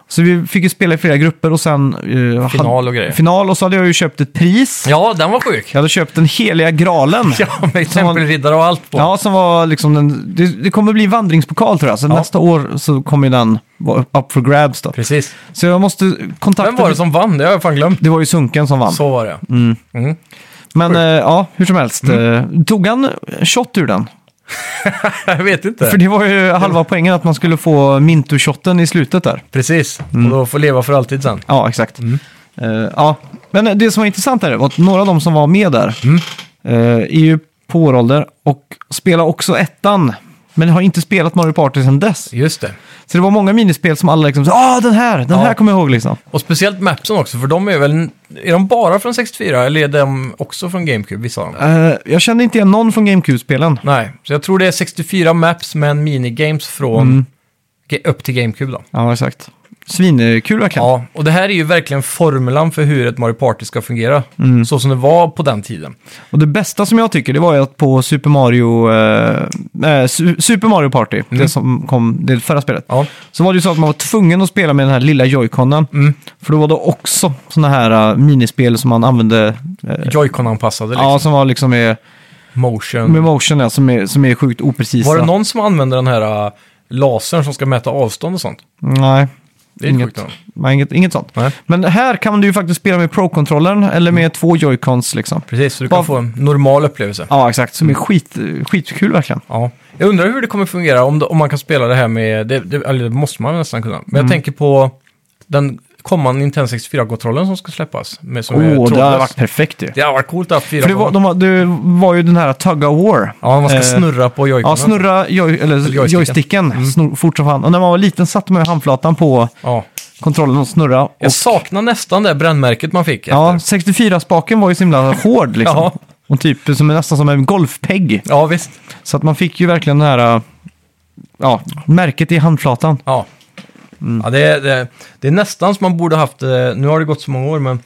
Speaker 1: Så vi fick ju spela i flera grupper och sen... eh,
Speaker 2: Final
Speaker 1: hade-
Speaker 2: och grejer.
Speaker 1: Final och så hade jag ju köpt ett pris.
Speaker 2: Ja, den var sjuk.
Speaker 1: Jag hade köpt den heliga graalen.
Speaker 2: Ja, med
Speaker 1: Som man-
Speaker 2: tempelriddare och allt på.
Speaker 1: Ja, som var liksom den, det, det kommer bli en vandringspokal tror jag, så
Speaker 2: Ja.
Speaker 1: nästa år så kommer ju den vara up for grabs då.
Speaker 2: Precis.
Speaker 1: Så jag måste kontakta...
Speaker 2: Vem var det som vann? Det har jag fan glömt.
Speaker 1: Det var ju Sunken som vann.
Speaker 2: Så var det. Mm.
Speaker 1: Men eh, ja, hur som helst. eh, Tog han shot ur den?
Speaker 2: Jag vet inte.
Speaker 1: För det var ju halva poängen att man skulle få Mintu-shotten i slutet där.
Speaker 2: Precis. Och då får leva för alltid sen.
Speaker 1: Ja, exakt.
Speaker 2: Mm.
Speaker 1: Eh, ja. Men eh, det som var intressant där var att några av de som var med där
Speaker 2: Mm.
Speaker 1: eh, är ju på vår ålder och spelar också ettan. Men har inte spelat Mario Party sedan dess.
Speaker 2: Just det.
Speaker 1: Så det var många minispel som alla liksom, ah den här, den
Speaker 2: Ja.
Speaker 1: här kommer jag ihåg liksom.
Speaker 2: Och speciellt mapsen också, för de är väl... Är de bara från 64 eller är de också från GameCube, vissa av dem?
Speaker 1: Eh, jag kände inte igen någon från GameCube-spelen.
Speaker 2: Nej, så jag tror det är 64 maps med en minigames från... ge- Upp till GameCube då.
Speaker 1: Ja, exakt. Svinkul verkligen.
Speaker 2: Ja, och det här är ju verkligen formulan för hur ett Mario Party ska fungera.
Speaker 1: Mm.
Speaker 2: Så som det var på den tiden.
Speaker 1: Och det bästa som jag tycker, det var ju att på Super Mario, eh, eh, Su- Super Mario Party,
Speaker 2: Mm.
Speaker 1: det som kom, det förra spelet,
Speaker 2: Ja,
Speaker 1: så var det ju så att man var tvungen att spela med den här lilla joyconen.
Speaker 2: Mm.
Speaker 1: För då var det också sådana här eh, minispel som man använde, eh,
Speaker 2: Joy-Con-anpassade liksom.
Speaker 1: ja, som var liksom med,
Speaker 2: Motion.
Speaker 1: med motion, ja, som, är, som är sjukt oprecisa.
Speaker 2: Var det någon som använde den här äh, lasern som ska mäta avstånd och sånt?
Speaker 1: Nej.
Speaker 2: Det är
Speaker 1: inget,
Speaker 2: sjukt nog.
Speaker 1: nej, inget, inget sånt.
Speaker 2: Nej. Mm.
Speaker 1: Men här kan du ju faktiskt spela med Pro-controllern eller med två joycons liksom.
Speaker 2: Precis, så du
Speaker 1: Bara-
Speaker 2: kan få en normal upplevelse.
Speaker 1: Ja, exakt. Som är skit, skitkul verkligen.
Speaker 2: Ja. Jag undrar hur det kommer fungera om, det- om man kan spela det här med... Det, det, eller det måste man nästan kunna. Men
Speaker 1: Mm.
Speaker 2: jag tänker på den kommande Nintendo 64-kontrollen som ska släppas. Med, som
Speaker 1: Åh,
Speaker 2: är
Speaker 1: det hade
Speaker 2: trådlös.
Speaker 1: varit perfekt ju.
Speaker 2: Det hade varit coolt att ha fyra
Speaker 1: För det var, de, var- det var ju den här Tug of War.
Speaker 2: Ja, man ska
Speaker 1: Eh,
Speaker 2: snurra på joy
Speaker 1: Ja, snurra joy, eller joysticken,
Speaker 2: joysticken. Mm.
Speaker 1: snor, fort som fan. Och när man var liten satte man ju handflatan på
Speaker 2: Ja.
Speaker 1: kontrollen och snurra. Och,
Speaker 2: Jag saknar nästan det brännmärket man fick.
Speaker 1: ja,
Speaker 2: efter.
Speaker 1: 64-spaken var ju så himla hård liksom.
Speaker 2: Ja.
Speaker 1: Och typ som, nästan som en golfpegg.
Speaker 2: ja visst.
Speaker 1: Så att man fick ju verkligen det här ja, märket i handflatan.
Speaker 2: Ja.
Speaker 1: Mm.
Speaker 2: Ja, det, är- det, är- det är nästan som man borde haft, eh, nu har det gått så många år, men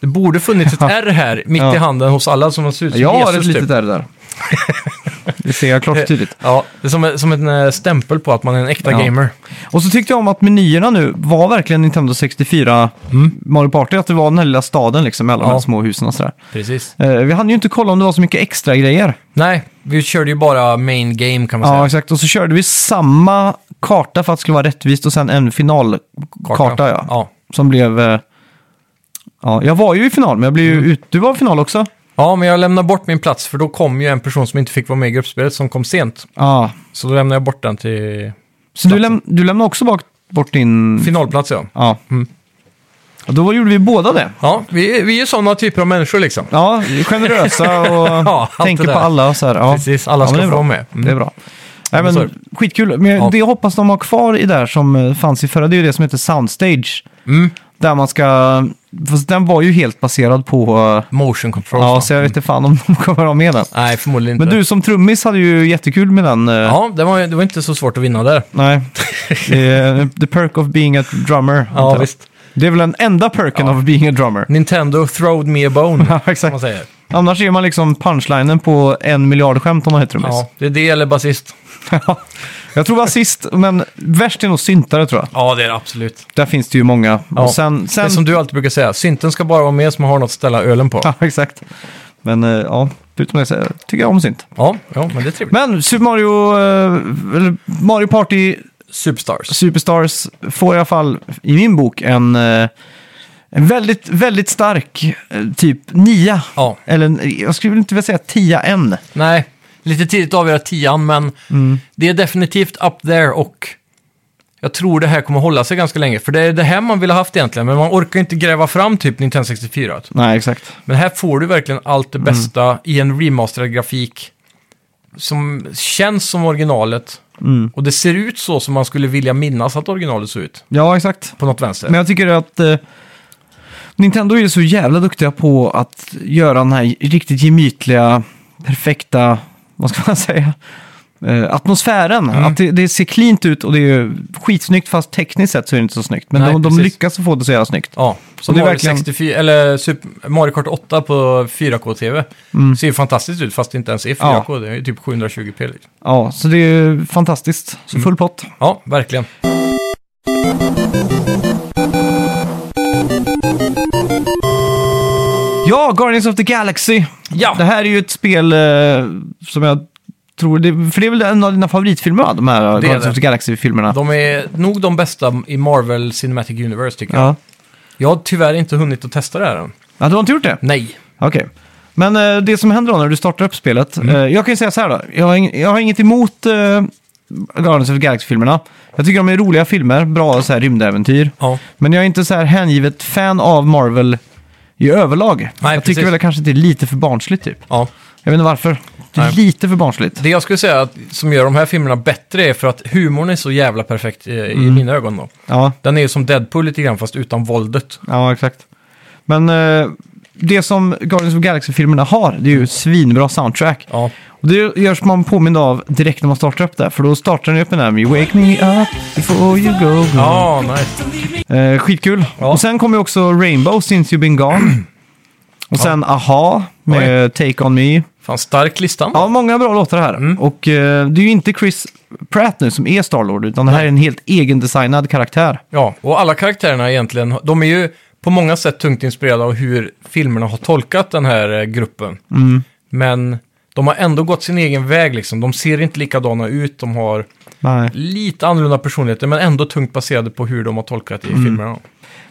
Speaker 2: Det borde funnits ett R här, mitt
Speaker 1: Ja.
Speaker 2: i handen hos alla som ser ut som
Speaker 1: Jag har ett
Speaker 2: Jesus. typ. Eh.
Speaker 1: litet R där. Det ser jag klart och tydligt.
Speaker 2: Ja, det är som, en- som en eh, stämpel på att man är en äkta
Speaker 1: Ja.
Speaker 2: gamer.
Speaker 1: Och så tyckte jag om att menyerna nu var verkligen Nintendo 64 Mario Party. Att det var den här lilla staden liksom med alla de här
Speaker 2: Mm. Ja.
Speaker 1: små husen och sådär.
Speaker 2: Precis.
Speaker 1: Eh, vi hann ju inte kolla om det var så mycket extra grejer.
Speaker 2: Nej, vi körde ju bara main game kan man
Speaker 1: Ja,
Speaker 2: säga.
Speaker 1: exakt. Och så körde vi samma karta för att det skulle vara rättvist och sen en finalkarta. ja.
Speaker 2: ja.
Speaker 1: Som blev... eh, Ja, jag var ju i final, men jag blev ju
Speaker 2: Mm.
Speaker 1: ut... Du var i final också?
Speaker 2: Ja, men jag lämnar bort min plats för då kom ju en person som inte fick vara med i gruppspelet som kom sent.
Speaker 1: Ja.
Speaker 2: Så då lämnar jag bort den till
Speaker 1: Så du,
Speaker 2: Platsen.
Speaker 1: läm... du lämnade också bak... bort din...
Speaker 2: finalplats ja.
Speaker 1: Ja.
Speaker 2: Mm.
Speaker 1: Och då gjorde vi båda det.
Speaker 2: Ja, vi, vi är ju sådana typer av människor liksom.
Speaker 1: Ja, generösa och
Speaker 2: Ja, allt
Speaker 1: tänker
Speaker 2: det
Speaker 1: på
Speaker 2: där.
Speaker 1: alla och så här. Ja.
Speaker 2: Precis, alla
Speaker 1: Ja,
Speaker 2: ska
Speaker 1: men det är
Speaker 2: få
Speaker 1: bra.
Speaker 2: vara med. Mm.
Speaker 1: Det är bra. Nej,
Speaker 2: men så är
Speaker 1: men, skitkul. Men
Speaker 2: Ja.
Speaker 1: Det jag hoppas de har kvar i där som eh, fanns i förra, det är ju det som heter Soundstage.
Speaker 2: Mm.
Speaker 1: Där man ska... Fast den var ju helt baserad på... eh,
Speaker 2: Motion control.
Speaker 1: Ja,
Speaker 2: va?
Speaker 1: så jag vet inte fan om de kommer ha med den.
Speaker 2: Nej, förmodligen inte.
Speaker 1: Men du som trummis hade ju jättekul med den. eh,
Speaker 2: Ja, det var, ju- det var inte så svårt att vinna där.
Speaker 1: Nej. Det är eh, the perk of being a drummer. antar
Speaker 2: Ja,
Speaker 1: jag.
Speaker 2: visst.
Speaker 1: Det är väl den enda perken
Speaker 2: Ja.
Speaker 1: of being a drummer.
Speaker 2: Nintendo throwed me a bone,
Speaker 1: Ja,
Speaker 2: som
Speaker 1: exakt.
Speaker 2: man säger.
Speaker 1: Annars är man liksom punchlinen på en miljard skämt om man är trummis.
Speaker 2: Ja, det är det eller basist.
Speaker 1: Ja. jag tror basist, men värst är nog syntare tror jag.
Speaker 2: Ja, det är det absolut.
Speaker 1: Där finns det ju många.
Speaker 2: Ja.
Speaker 1: Och sen,
Speaker 2: Det är
Speaker 1: sen...
Speaker 2: som du alltid brukar säga, synten ska bara vara med som har något att ställa ölen på.
Speaker 1: Ja, exakt. Men eh, ja, förutom det så tycker jag om synt.
Speaker 2: Ja, ja men det är trevligt.
Speaker 1: Men Super Mario, eh, eller Mario Party
Speaker 2: Superstars.
Speaker 1: Superstars får i alla fall i min bok en, eh, en väldigt, väldigt stark eh, typ nia.
Speaker 2: Ja.
Speaker 1: Eller en- jag skulle inte vilja säga tia än.
Speaker 2: Nej, lite tidigt att avgöra tian, men
Speaker 1: Mm.
Speaker 2: det är definitivt up there och jag tror det här kommer hålla sig ganska länge. För det är det här man vill ha haft egentligen, men man orkar inte gräva fram typ Nintendo 64.
Speaker 1: Nej, exakt.
Speaker 2: Men här får du verkligen allt det
Speaker 1: Mm.
Speaker 2: bästa i en remasterad grafik som känns som originalet.
Speaker 1: Mm.
Speaker 2: Och det ser ut så som man skulle vilja minnas att originalet såg ut,
Speaker 1: Ja, exakt.
Speaker 2: på något vänster.
Speaker 1: Men jag tycker att eh, Nintendo är så jävla duktiga på att göra den här riktigt gemytliga, perfekta, vad ska man säga, eh, atmosfären.
Speaker 2: Mm.
Speaker 1: Att det, det ser cleant ut och det är skitsnyggt fast tekniskt sett så är det inte så snyggt. Men
Speaker 2: Nej,
Speaker 1: de, de
Speaker 2: precis.
Speaker 1: lyckas få det så jävla snyggt.
Speaker 2: Ja, så
Speaker 1: Och det är
Speaker 2: Mario,
Speaker 1: verkligen-
Speaker 2: 64, eller Super, Mario Kart 8 på 4K-TV
Speaker 1: Mm.
Speaker 2: ser ju fantastiskt ut fast det inte ens är 4K, det är ju typ 720p. liksom.
Speaker 1: Ja, så det är fantastiskt. Så
Speaker 2: Mm.
Speaker 1: full pott.
Speaker 2: Ja, verkligen.
Speaker 1: Ja, Guardians of the Galaxy.
Speaker 2: Ja,
Speaker 1: Det här är ju ett spel eh, som jag tror, det, för det är väl en av dina favoritfilmer va? De här eh, Guardians
Speaker 2: det.
Speaker 1: of the Galaxy-filmerna.
Speaker 2: de är nog de bästa i Marvel Cinematic Universe tycker jag.
Speaker 1: Ja.
Speaker 2: Jag har tyvärr inte hunnit att testa det här än.
Speaker 1: ja, du har inte gjort det?
Speaker 2: Nej.
Speaker 1: Okej. Men eh, det som händer då när du startar upp spelet.
Speaker 2: Mm.
Speaker 1: Eh, jag kan ju säga så här då. Jag har, ing- jag har inget emot eh, Guardians of the Galaxy-filmerna. Jag tycker de är roliga filmer, bra så här, rymdäventyr.
Speaker 2: Ja.
Speaker 1: Men jag är inte så här hängivet fan av Marvel i överlag.
Speaker 2: Nej,
Speaker 1: jag
Speaker 2: precis.
Speaker 1: tycker väl att kanske det är lite för barnsligt typ.
Speaker 2: ja.
Speaker 1: Jag vet inte varför. Det är
Speaker 2: Nej.
Speaker 1: lite för barnsligt.
Speaker 2: Det jag skulle säga att, som gör de här filmerna bättre är för att humorn är så jävla perfekt eh, i,
Speaker 1: Mm.
Speaker 2: i mina ögon då.
Speaker 1: Ja,
Speaker 2: Den är ju som Deadpool lite grann fast utan våldet.
Speaker 1: ja exakt. Men eh, det som Guardians of the Galaxy-filmerna har, det är ju svinbra soundtrack.
Speaker 2: Ja,
Speaker 1: Och det görs man påmind av direkt när man startar upp det, här, för då startar den upp den här med Wake me up before you go. go.
Speaker 2: ja nice.
Speaker 1: Eh, skitkul.
Speaker 2: Ja.
Speaker 1: Och sen kommer ju också Rainbow since you've been gone. Och sen Aha med Take On Me.
Speaker 2: Fan, stark listan.
Speaker 1: Ja, många bra låtar här.
Speaker 2: Mm.
Speaker 1: Och eh, det är ju inte Chris Pratt nu som är Starlord, utan det här är en helt egendesignad karaktär.
Speaker 2: Ja, och alla karaktärerna egentligen, de är ju på många sätt tungt inspirerade av hur filmerna har tolkat den här eh, gruppen.
Speaker 1: Mm.
Speaker 2: Men de har ändå gått sin egen väg liksom. De ser inte likadana ut, de har
Speaker 1: Nej.
Speaker 2: lite annorlunda personligheter men ändå tungt baserade på hur de har tolkat i
Speaker 1: Mm.
Speaker 2: filmerna.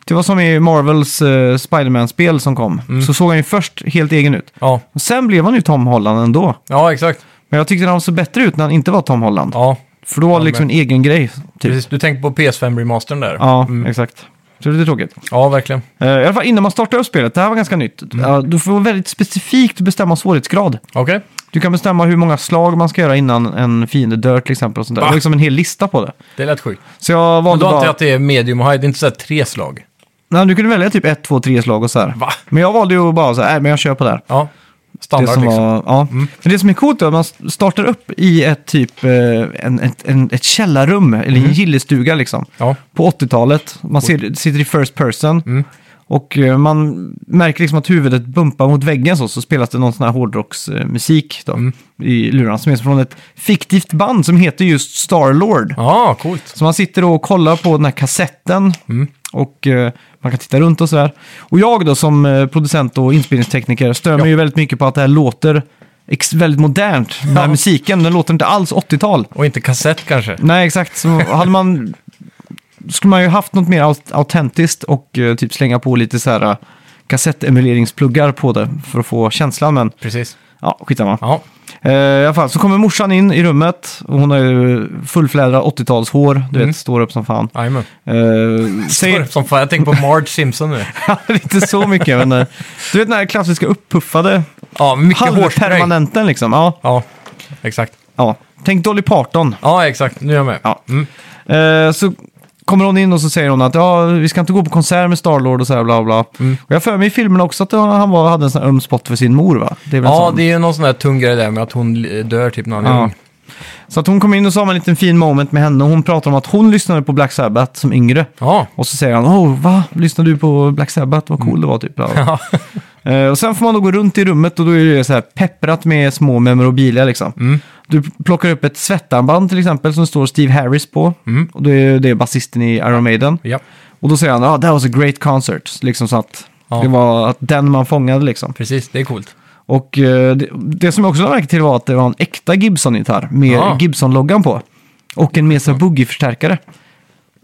Speaker 1: Det var som i Marvels eh, Spiderman-spel som kom.
Speaker 2: Mm.
Speaker 1: Så såg han ju först helt egen ut.
Speaker 2: Ja,
Speaker 1: Och sen blev han ju Tom Holland ändå.
Speaker 2: ja exakt.
Speaker 1: Men jag tyckte han såg bättre ut när han inte var Tom Holland.
Speaker 2: Ja,
Speaker 1: För då var det liksom en egen grej. Typ.
Speaker 2: precis. Mm. Du tänker på PS5-remastern där.
Speaker 1: Ja, exakt. Så det är lite tråkigt.
Speaker 2: ja, verkligen.
Speaker 1: Eh, I alla fall innan man startar upp spelet, det här var ganska nytt.
Speaker 2: Mm.
Speaker 1: Ja, du får väldigt specifikt bestämma svårighetsgrad.
Speaker 2: Okej.
Speaker 1: Du kan bestämma hur många slag man ska göra innan en fiende dör till exempel. Och sånt där.
Speaker 2: Va?
Speaker 1: Det var liksom en hel lista på det.
Speaker 2: Det lät sjukt.
Speaker 1: Så jag
Speaker 2: Men
Speaker 1: valde
Speaker 2: du antar jag
Speaker 1: bara...
Speaker 2: att det är medium och high, det är inte så här tre slag?
Speaker 1: Nej, du kunde välja typ ett, två, tre slag och så här.
Speaker 2: Va?
Speaker 1: Men jag valde ju bara så här, nej men jag kör på det här.
Speaker 2: Ja,
Speaker 1: Det
Speaker 2: standard
Speaker 1: som
Speaker 2: liksom.
Speaker 1: var, ja. Men det som är coolt är att man startar upp i ett typ, eh, en, ett, en, ett
Speaker 2: Mm.
Speaker 1: källarrum, eller en gillestuga liksom.
Speaker 2: Ja. Mm.
Speaker 1: på 80-talet. Man ser, sitter i first person. Och eh, man märker liksom att huvudet bumpar mot väggen så, så spelas det någon sån här hårdrocksmusik då,
Speaker 2: Mm.
Speaker 1: i lurarna som är från ett fiktivt band som heter just Starlord.
Speaker 2: Ja, Ah, coolt.
Speaker 1: Så man sitter och kollar på den här kassetten
Speaker 2: Mm.
Speaker 1: och eh, man kan titta runt och sådär. Och jag då som eh, producent och inspelningstekniker stör mig ju väldigt mycket på att det här låter ex- väldigt modernt. Den här
Speaker 2: Ja.
Speaker 1: musiken, den låter inte alls 80-tal.
Speaker 2: Och inte kassett kanske.
Speaker 1: Nej, exakt. Så hade man... Skulle man ju haft något mer aut- autentiskt och eh, typ slänga på lite så här eh, kassettemuleringspluggar på det för att få känslan, men
Speaker 2: Precis.
Speaker 1: ja, skitsamma.
Speaker 2: Ja,
Speaker 1: Eh, I alla fall, så kommer morsan in i rummet och hon har ju fullflädrat 80-talshår, du
Speaker 2: Mm.
Speaker 1: vet, står upp som fan.
Speaker 2: jajamän.
Speaker 1: Eh,
Speaker 2: Står
Speaker 1: säger
Speaker 2: upp Som fan, jag tänker på Marge Simpson nu.
Speaker 1: inte så mycket, men eh, du vet den här klassiska uppuffade
Speaker 2: Ja, mycket hårspray.
Speaker 1: halvpermanenten liksom. Ja,
Speaker 2: Ja, exakt.
Speaker 1: ja. Tänk Dolly Parton.
Speaker 2: Ja, exakt. Nu är jag med.
Speaker 1: Ja.
Speaker 2: Mm.
Speaker 1: Eh, så kommer hon in och så säger hon att ja, vi ska inte gå på konsert med Starlord och så här bla bla.
Speaker 2: Mm.
Speaker 1: Och jag för mig i filmen också att han var, hade en sån här öm spot för sin mor va? Det är väl en
Speaker 2: Ja,
Speaker 1: sån.
Speaker 2: det är ju någon sån där tung grej där med att hon eh, dör typ när han är
Speaker 1: Ja.
Speaker 2: ung.
Speaker 1: Så att hon kom in och så har man en liten fin moment med henne och hon pratar om att hon lyssnade på Black Sabbath som yngre.
Speaker 2: Ja,
Speaker 1: Och så säger han, oh va? Lyssnade du på Black Sabbath? Vad cool det var typ. Ja.
Speaker 2: Mm. ja.
Speaker 1: Eh, och sen får man då gå runt i rummet och då är det så här pepprat med små memorabilia liksom.
Speaker 2: Mm.
Speaker 1: Du plockar upp ett svettarmband till exempel som det står Steve Harris på.
Speaker 2: Mm.
Speaker 1: Och det är, det är basisten i Iron Maiden.
Speaker 2: ja.
Speaker 1: Och då säger han, ah, that was a great concert. Liksom så att
Speaker 2: Ja.
Speaker 1: det var att den man fångade liksom.
Speaker 2: precis. Det är coolt.
Speaker 1: Och eh, det, det som jag också lade märke till var att det var en äkta Gibson-gitarr med
Speaker 2: Ja.
Speaker 1: Gibson-loggan på. Och en Mesa Boogie-förstärkare.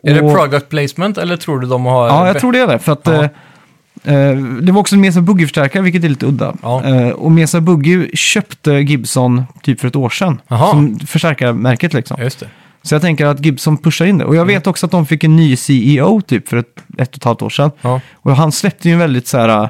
Speaker 2: Är det
Speaker 1: Och-
Speaker 2: product placement eller tror du de har...
Speaker 1: Ja, jag tror det är det. För att,
Speaker 2: Ja.
Speaker 1: eh, eh, det var också en Mesa Boogie-förstärkare, vilket är lite udda.
Speaker 2: Ja.
Speaker 1: Eh, och Mesa Boogie köpte Gibson typ för ett år sedan.
Speaker 2: Jaha.
Speaker 1: Som förstärkarmärket liksom.
Speaker 2: Ja, Just det.
Speaker 1: Så jag tänker att Gibson pushar in det. Och jag vet också att de fick en ny CEO typ för ett, ett och ett halvt år sedan.
Speaker 2: Ja.
Speaker 1: Och han släppte ju en väldigt så här, eh,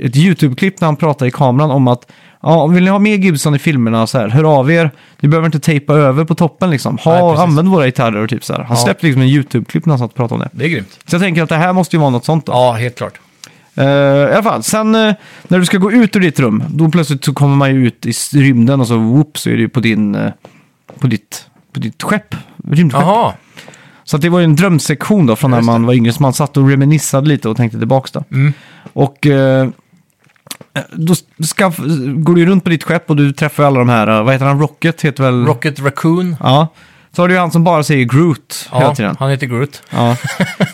Speaker 1: ett YouTube-klipp när han pratade i kameran om att ja, vill ni ha med Gibson i filmerna så här, hör av er. Ni behöver inte tejpa över på toppen liksom.
Speaker 2: Nej,
Speaker 1: Ha,
Speaker 2: precis.
Speaker 1: använd våra gitarrer och typ så här. Han
Speaker 2: Ja.
Speaker 1: släppte liksom en YouTube-klipp när han satt och pratade om det.
Speaker 2: Det är grymt.
Speaker 1: Så jag tänker att det här måste ju vara något sånt då.
Speaker 2: Ja, helt klart.
Speaker 1: Eh, I alla fall, sen eh, när du ska gå ut ur ditt rum, då plötsligt så kommer man ju ut i s- rymden och så whoop så är det ju på din, eh, på ditt, på ditt skepp, rymdskepp.
Speaker 2: Jaha,
Speaker 1: Så att det var ju en drömsektion då från när
Speaker 2: Just det. Mm.
Speaker 1: man var yngre, så man satt och reminissade lite och tänkte tillbaka då. Och eh, då ska, går du ju runt på ditt skepp och du träffar ju alla de här, eh, vad heter han, Rocket heter väl?
Speaker 2: Rocket Raccoon.
Speaker 1: Ja. Så har du ju han som bara säger Groot hela
Speaker 2: Ja,
Speaker 1: tiden.
Speaker 2: han heter Groot.
Speaker 1: Ja.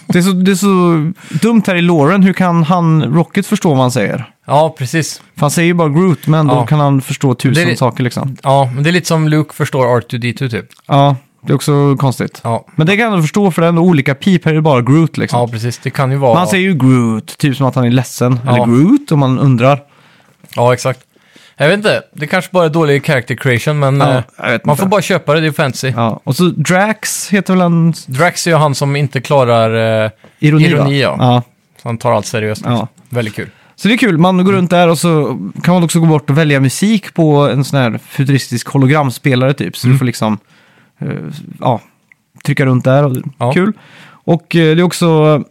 Speaker 1: Det, är så, det är så dumt här i Loren, hur kan han Rocket förstå vad han säger?
Speaker 2: Ja, precis.
Speaker 1: För han säger ju bara Groot, men
Speaker 2: Ja.
Speaker 1: då kan han förstå tusen
Speaker 2: Det är-
Speaker 1: saker liksom.
Speaker 2: Ja, men det är lite som Luke förstår R2D2 typ.
Speaker 1: Ja, det är också konstigt.
Speaker 2: Ja,
Speaker 1: Men det kan jag ändå förstå, för det är ändå olika pip, här är det bara Groot liksom.
Speaker 2: ja precis. Det kan ju vara...
Speaker 1: Men han säger ju Groot, typ som att han är ledsen.
Speaker 2: Ja.
Speaker 1: Eller Groot, om man undrar.
Speaker 2: Ja, exakt. Jag vet inte. Det kanske bara är dålig character creation, men
Speaker 1: Ja,
Speaker 2: eh,
Speaker 1: jag vet
Speaker 2: man
Speaker 1: inte.
Speaker 2: får bara köpa det. Det är fancy.
Speaker 1: Ja. Och så Drax heter väl en
Speaker 2: Drax är ju han som inte klarar... Eh,
Speaker 1: ironi,
Speaker 2: Ironi,
Speaker 1: va?
Speaker 2: ja.
Speaker 1: ja.
Speaker 2: så han tar allt seriöst.
Speaker 1: Ja.
Speaker 2: liksom. Väldigt kul.
Speaker 1: Så det är kul, man går runt där och så kan man också gå bort och välja musik på en sån här futuristisk hologramspelare typ. Så du får liksom eh, ja, trycka runt där och
Speaker 2: Ja.
Speaker 1: kul. Och eh, det är också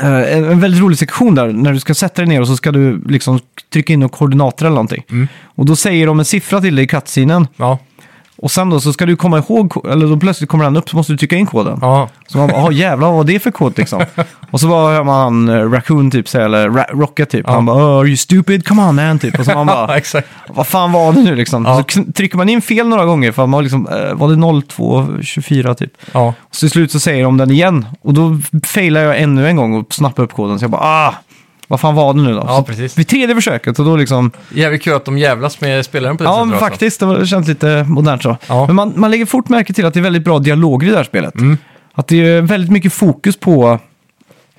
Speaker 1: eh, en, en väldigt rolig sektion där när du ska sätta dig ner och så ska du liksom trycka in några koordinater eller någonting. Och då säger de en siffra till dig i cutscenen.
Speaker 2: Ja,
Speaker 1: Och sen då så ska du komma ihåg, ko- eller då plötsligt kommer den upp så måste du trycka in koden.
Speaker 2: ja.
Speaker 1: Så man bara, "Ah, jävlar vad var det för kod liksom? och så bara hör man eh, Raccoon typ säga, eller Ra- Rocket typ. Han bara, "Oh, are you stupid? Come on man typ. Och så man
Speaker 2: ja
Speaker 1: bara,
Speaker 2: exakt.
Speaker 1: vad fan var det nu liksom?
Speaker 2: Ja.
Speaker 1: Så kn- trycker man in fel några gånger för att man liksom, eh, var det 0224 typ?
Speaker 2: Ja.
Speaker 1: Så till slut så säger de den igen och då failar jag ännu en gång och snappar upp koden. Så jag bara, ah, vad fan var det nu då?
Speaker 2: Ja,
Speaker 1: Så
Speaker 2: precis.
Speaker 1: Vid tredje försöket och då liksom,
Speaker 2: Jävligt kul att de jävlas med spelaren på det
Speaker 1: Ja,
Speaker 2: sättet
Speaker 1: men
Speaker 2: också.
Speaker 1: faktiskt. Det var- det känns lite modernt så.
Speaker 2: Ja. Mm.
Speaker 1: Men man, man lägger fort märke till att det är väldigt bra dialoger i det här spelet. Att det är väldigt mycket fokus på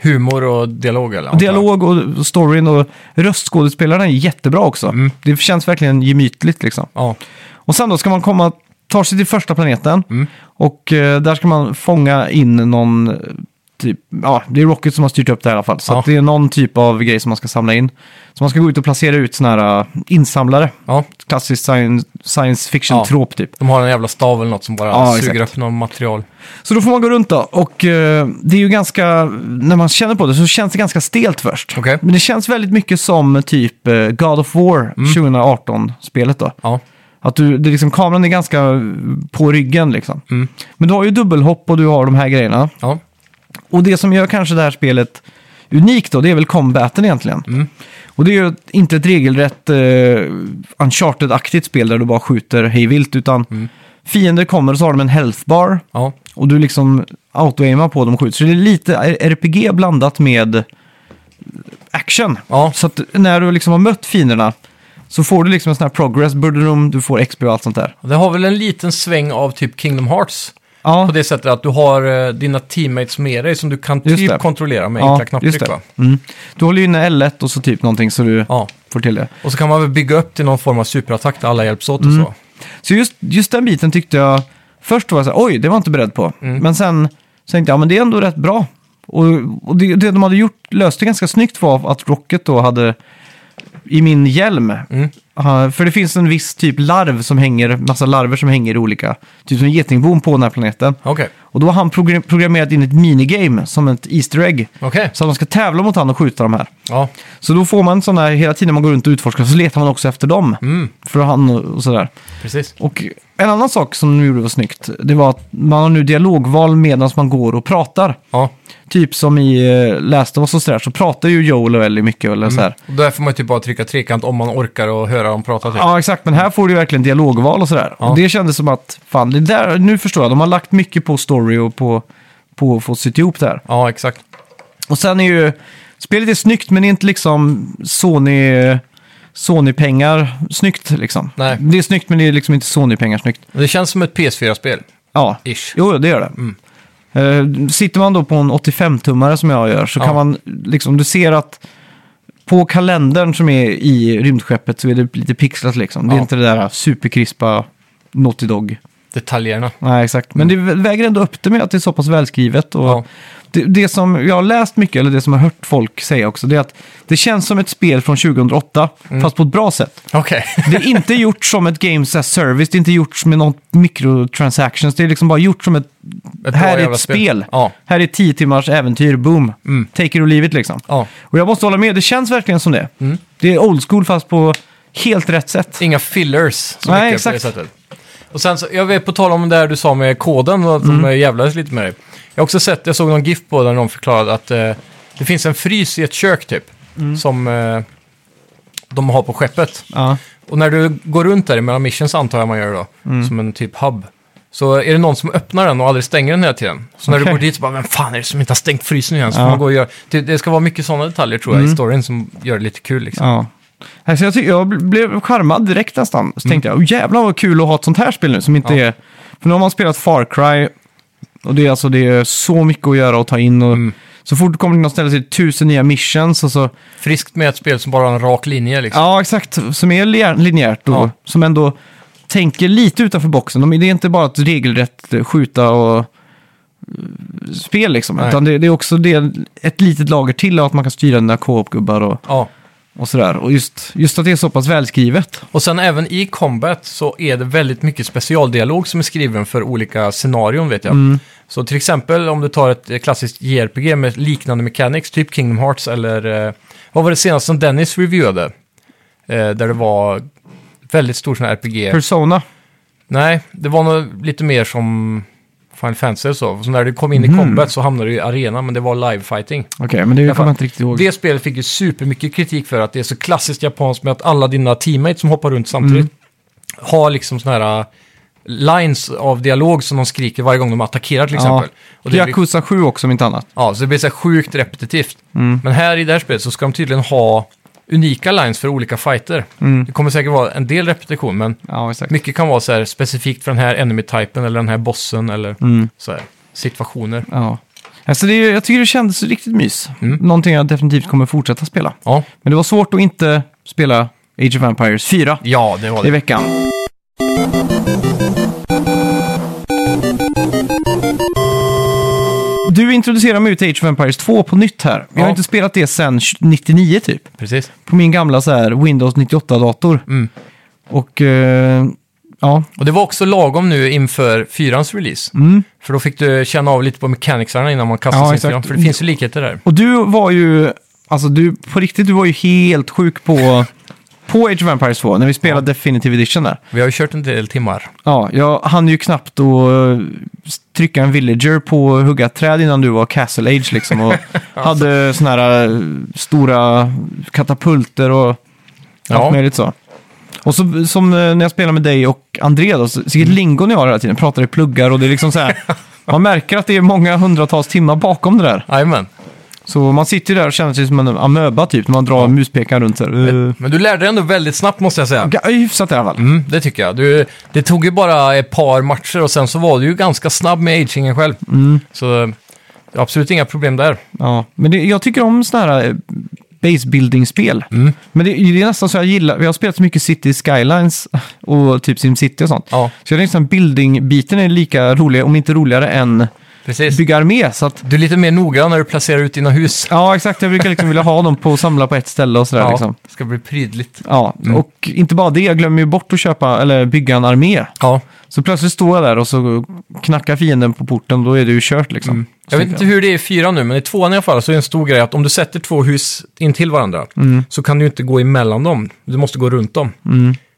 Speaker 2: Humor och dialog eller? antar jag.
Speaker 1: dialog och storyn och röstskådespelarna är jättebra också.
Speaker 2: Mm.
Speaker 1: Det känns verkligen gemytligt liksom.
Speaker 2: Ja,
Speaker 1: Och sen då ska man komma, ta sig till första planeten
Speaker 2: Mm.
Speaker 1: och eh, där ska man fånga in någon, eh, typ, ja det är Rocket som har styrt upp det här i alla fall. Så
Speaker 2: Ja.
Speaker 1: att det är någon typ av grej som man ska samla in. Så man ska gå ut och placera ut sådana här eh, insamlare.
Speaker 2: ja.
Speaker 1: Klassisk science, science fiction-trop typ.
Speaker 2: De har en jävla stav eller något som bara
Speaker 1: Ja,
Speaker 2: suger
Speaker 1: exakt.
Speaker 2: upp något material.
Speaker 1: Så då får man gå runt då och eh, det är ju ganska, när man känner på det så känns det ganska stelt först.
Speaker 2: Okej.
Speaker 1: Men det känns väldigt mycket som typ eh, God of War 2018-spelet då.
Speaker 2: Ja,
Speaker 1: Att du, det är liksom, kameran är ganska eh, på ryggen liksom. Men du har ju dubbelhopp och du har de här grejerna.
Speaker 2: ja.
Speaker 1: Och det som gör kanske det här spelet, unikt då, det är väl combaten egentligen. Och det är ju inte ett regelrätt eh, uncharted-aktigt spel där du bara skjuter hejvilt, utan fiender kommer och så har de en health bar
Speaker 2: Ja,
Speaker 1: och du liksom auto-aimar på dem och skjuter. Så det är lite RPG blandat med action.
Speaker 2: Ja.
Speaker 1: Så att när du liksom har mött fienderna så får du liksom en sån här progress burden, du får XP och allt sånt där.
Speaker 2: och det har väl en liten sväng av typ Kingdom Hearts.
Speaker 1: Ja,
Speaker 2: På det sättet att du har eh, dina teammates med dig som du kan
Speaker 1: Just
Speaker 2: typ
Speaker 1: det.
Speaker 2: kontrollera med
Speaker 1: Ja,
Speaker 2: enkla knapptryck.
Speaker 1: just det.
Speaker 2: Va?
Speaker 1: Mm. Du håller ju inne L1 och så typ någonting så du
Speaker 2: Ja.
Speaker 1: får till det.
Speaker 2: Och så kan man väl bygga upp till någon form av superattack där alla hjälps åt och
Speaker 1: Mm.
Speaker 2: så.
Speaker 1: Så just, just den biten tyckte jag, först var jag så här, oj, det var jag inte beredd på.
Speaker 2: Mm.
Speaker 1: Men sen så tänkte jag, ja men det är ändå rätt bra. Och, och det, det de hade gjort, löste ganska snyggt var att Rocket då hade, i min hjälm,
Speaker 2: Mm.
Speaker 1: eh, för det finns en viss typ larv som hänger, massa larver som hänger i olika, typ som getingbon på den här planeten.
Speaker 2: Okej,
Speaker 1: Och då har han program- programmerat in ett minigame som ett Easter egg.
Speaker 2: okej.
Speaker 1: Så att man ska tävla mot han och skjuta de här.
Speaker 2: Ja,
Speaker 1: Så då får man sådana här, hela tiden man går runt och utforskar så letar man också efter dem.
Speaker 2: Mm.
Speaker 1: För han och sådär.
Speaker 2: precis.
Speaker 1: Och en annan sak som de gjorde var snyggt, det var att man har nu dialogval medan man går och pratar.
Speaker 2: Ja.
Speaker 1: Typ som i eh, Last of Us och sådär, så pratar ju Joel och Ellie mycket
Speaker 2: Mm.
Speaker 1: eller sådär.
Speaker 2: Och där får man ju typ bara trycka trekant om man orkar och höra dem prata. Typ.
Speaker 1: Ja, exakt. Men här får du ju verkligen dialogval och sådär.
Speaker 2: Ja.
Speaker 1: Och det kändes som att, fan, det där, nu förstår jag. De har lagt mycket på story och på, på att få sitt ihop där.
Speaker 2: Ja, exakt.
Speaker 1: Och sen är ju, spelet är snyggt men det är inte liksom Sony, Sony-pengar snyggt liksom.
Speaker 2: Nej.
Speaker 1: Det är snyggt men det är liksom inte Sony-pengar snyggt.
Speaker 2: Det känns som ett PS4-spel.
Speaker 1: Ja,
Speaker 2: Ish.
Speaker 1: jo det gör det.
Speaker 2: Mm.
Speaker 1: Eh, sitter man då på en 85-tummare som jag gör så
Speaker 2: Ja.
Speaker 1: kan man liksom, du ser att på kalendern som är i rymdskeppet så är det lite pixlat liksom. Det är
Speaker 2: Ja.
Speaker 1: inte det där superkrispa Naughty Dog.
Speaker 2: Detaljerna.
Speaker 1: Nej, exakt. Men det väger ändå upp det med att det är så pass välskrivet. Och
Speaker 2: Mm. Ja.
Speaker 1: det, det som jag har läst mycket, eller det som jag har hört folk säga också, det är att det känns som ett spel från 2008,
Speaker 2: Mm.
Speaker 1: fast på ett bra sätt.
Speaker 2: Okej.
Speaker 1: Det är inte gjort som ett games as service, det är inte gjort med någon microtransactions, det är liksom bara gjort som ett...
Speaker 2: Ett bra
Speaker 1: här är
Speaker 2: jävla
Speaker 1: ett spel.
Speaker 2: Ja. Mm.
Speaker 1: Här är tio timmars äventyr, boom. Take it or leave it liksom.
Speaker 2: ja. Mm.
Speaker 1: Och jag måste hålla med, det känns verkligen som det. Det är old school fast på helt rätt sätt.
Speaker 2: Inga fillers. Så
Speaker 1: Nej,
Speaker 2: mycket
Speaker 1: exakt.
Speaker 2: På det sättet. Och sen så, jag vet på tal om det här du sa med koden, och att de mm. jävlades lite med dig. Jag har också sett, jag såg någon GIF på där någon förklarade att eh, det finns en frys i ett kök typ. Som eh, de har på skeppet.
Speaker 1: Mm. Ja.
Speaker 2: Och när du går runt där mellan missions antar jag man gör då,
Speaker 1: Mm.
Speaker 2: som en typ hub. Så är det någon som öppnar den och aldrig stänger den hela tiden. Så när du
Speaker 1: Okej.
Speaker 2: går dit så bara, vem fan är det som inte har stängt frysen igen? Så
Speaker 1: Ja. Mm.
Speaker 2: får man gå och göra, det, det ska vara mycket sådana detaljer tror jag i storyn som gör det lite kul liksom.
Speaker 1: Ja. Alltså jag, ty- jag bl- blev charmad direkt nästan. Så tänkte jag, "Åh, jävlar vad kul att ha ett sånt här spel nu som inte
Speaker 2: Mm. Ja.
Speaker 1: är... För nu har man spelat Far Cry och det är, alltså, det är så mycket att göra och ta in.
Speaker 2: Mm.
Speaker 1: Och Så fort du kommer till något ställe så är det tusen nya missions och så...
Speaker 2: Friskt med ett spel som bara har en rak linje liksom.
Speaker 1: Ja, exakt. Som är lia- linjärt och
Speaker 2: Ja.
Speaker 1: som ändå tänker lite utanför boxen. De, det är inte bara ett regelrätt eh, skjuta och eh, spel liksom.
Speaker 2: Nej.
Speaker 1: Utan det, det är också det, ett litet lager till av att man kan styra dina co-op-gubbar och,
Speaker 2: Ja.
Speaker 1: och sådär. Och just, just att det är så pass välskrivet.
Speaker 2: Och sen även i combat så är det väldigt mycket specialdialog som är skriven för olika scenarion vet jag. Så till exempel om du tar ett eh, klassiskt JRPG med liknande mechanics, typ Kingdom Hearts eller... eh, Vad var det senaste som Dennis reviewade? Eh, där det var väldigt stor sån här RPG.
Speaker 1: Persona.
Speaker 2: Nej, det var nog lite mer som Final Fantasy och så. Så när du kom in i combat så hamnade du i arena, men det var live fighting.
Speaker 1: Okej, men det kommer
Speaker 2: fall.
Speaker 1: jag inte riktigt ihåg.
Speaker 2: Det spelet fick ju supermycket kritik för att det är så klassiskt japanskt med att alla dina teammates som hoppar runt samtidigt har liksom såna här äh, lines av dialog som de skriker varje gång de attackerar till exempel. Och det blir,
Speaker 1: Yakuza 7 också om inte annat.
Speaker 2: ja, så det blir så här sjukt repetitivt. Men här i det här spelet så ska de tydligen ha unika lines för olika fighter. Det kommer säkert vara en del repetition, men
Speaker 1: Ja, exakt.
Speaker 2: mycket kan vara så här specifikt för den här enemy-typen eller den här bossen eller så här situationer.
Speaker 1: Ja. Alltså det, är ju- jag tycker det kändes riktigt mys.
Speaker 2: Mm.
Speaker 1: Någonting jag definitivt kommer fortsätta spela.
Speaker 2: Ja,
Speaker 1: Men det var svårt att inte spela Age of Empires 4
Speaker 2: ja det var
Speaker 1: i
Speaker 2: det.
Speaker 1: veckan. Du introducerar mig till Age of Empires 2 på nytt här. Jag har
Speaker 2: Ja.
Speaker 1: inte spelat det sedan 99 typ.
Speaker 2: Precis.
Speaker 1: På min gamla så här Windows 98-dator.
Speaker 2: Mm.
Speaker 1: Och eh, ja,
Speaker 2: Och det var också lagom nu inför fyrans release. För då fick du känna av lite på mechanicsarna innan man kastade
Speaker 1: Mm. Ja,
Speaker 2: sig
Speaker 1: exakt.
Speaker 2: fram. För det finns ju likheter där.
Speaker 1: Och du var ju, alltså du, på riktigt, du var ju helt sjuk på, på Age of Empires 2, när vi spelade Definitive Edition där.
Speaker 2: Vi har ju kört en del timmar.
Speaker 1: Ja, jag hann ju knappt att eh, trycka en villager på att hugga träd innan du var Castle Age liksom. Och hade såna här eh, stora katapulter och
Speaker 2: Ja.
Speaker 1: allt möjligt så. Och så, som eh, när jag spelar med dig och André då, så- sicket lingon jag har hela tiden, pratar i pluggar och det är liksom så här. Man märker att det är många hundratals timmar bakom det där.
Speaker 2: Jajamän.
Speaker 1: Så man sitter ju där och känner sig som en amöba typ, när man drar muspekaren runt så här. Uh,
Speaker 2: Men du lärde dig ändå väldigt snabbt måste jag säga.
Speaker 1: hyfsat i alla fall.
Speaker 2: Mm, det tycker jag. Du, det tog ju bara ett par matcher och sen så var du ju ganska snabb med agingen själv.
Speaker 1: Mm.
Speaker 2: Så eh, absolut inga problem där.
Speaker 1: Ja, men det, jag tycker om sådana här eh, base-building-spel.
Speaker 2: Mm.
Speaker 1: Men det, det är nästan så jag gillar, jag har spelat så mycket City Skylines och typ SimCity och sånt.
Speaker 2: Ja,
Speaker 1: Så jag tänkte att building-biten är lika rolig, om inte roligare, än
Speaker 2: precis.
Speaker 1: bygga armé. Så att,
Speaker 2: Du är lite mer noggrann när du placerar ut dina hus.
Speaker 1: ja, exakt. Jag brukar liksom vilja ha dem på och samla på ett ställe och sådär. Ja. Liksom.
Speaker 2: det ska bli prydligt.
Speaker 1: Ja,
Speaker 2: Mm.
Speaker 1: och inte bara det, jag glömmer ju bort att köpa eller bygga en armé.
Speaker 2: Ja.
Speaker 1: Så plötsligt står jag där och så knackar fienden på porten och då är det ju kört liksom. Så
Speaker 2: Mm. Jag vet inte
Speaker 1: tänkte
Speaker 2: hur det är i fyran nu, men i tvåan i alla fall så är det en stor grej att om du sätter två hus intill varandra
Speaker 1: Mm.
Speaker 2: så kan du inte gå emellan dem. Du måste gå runt dem.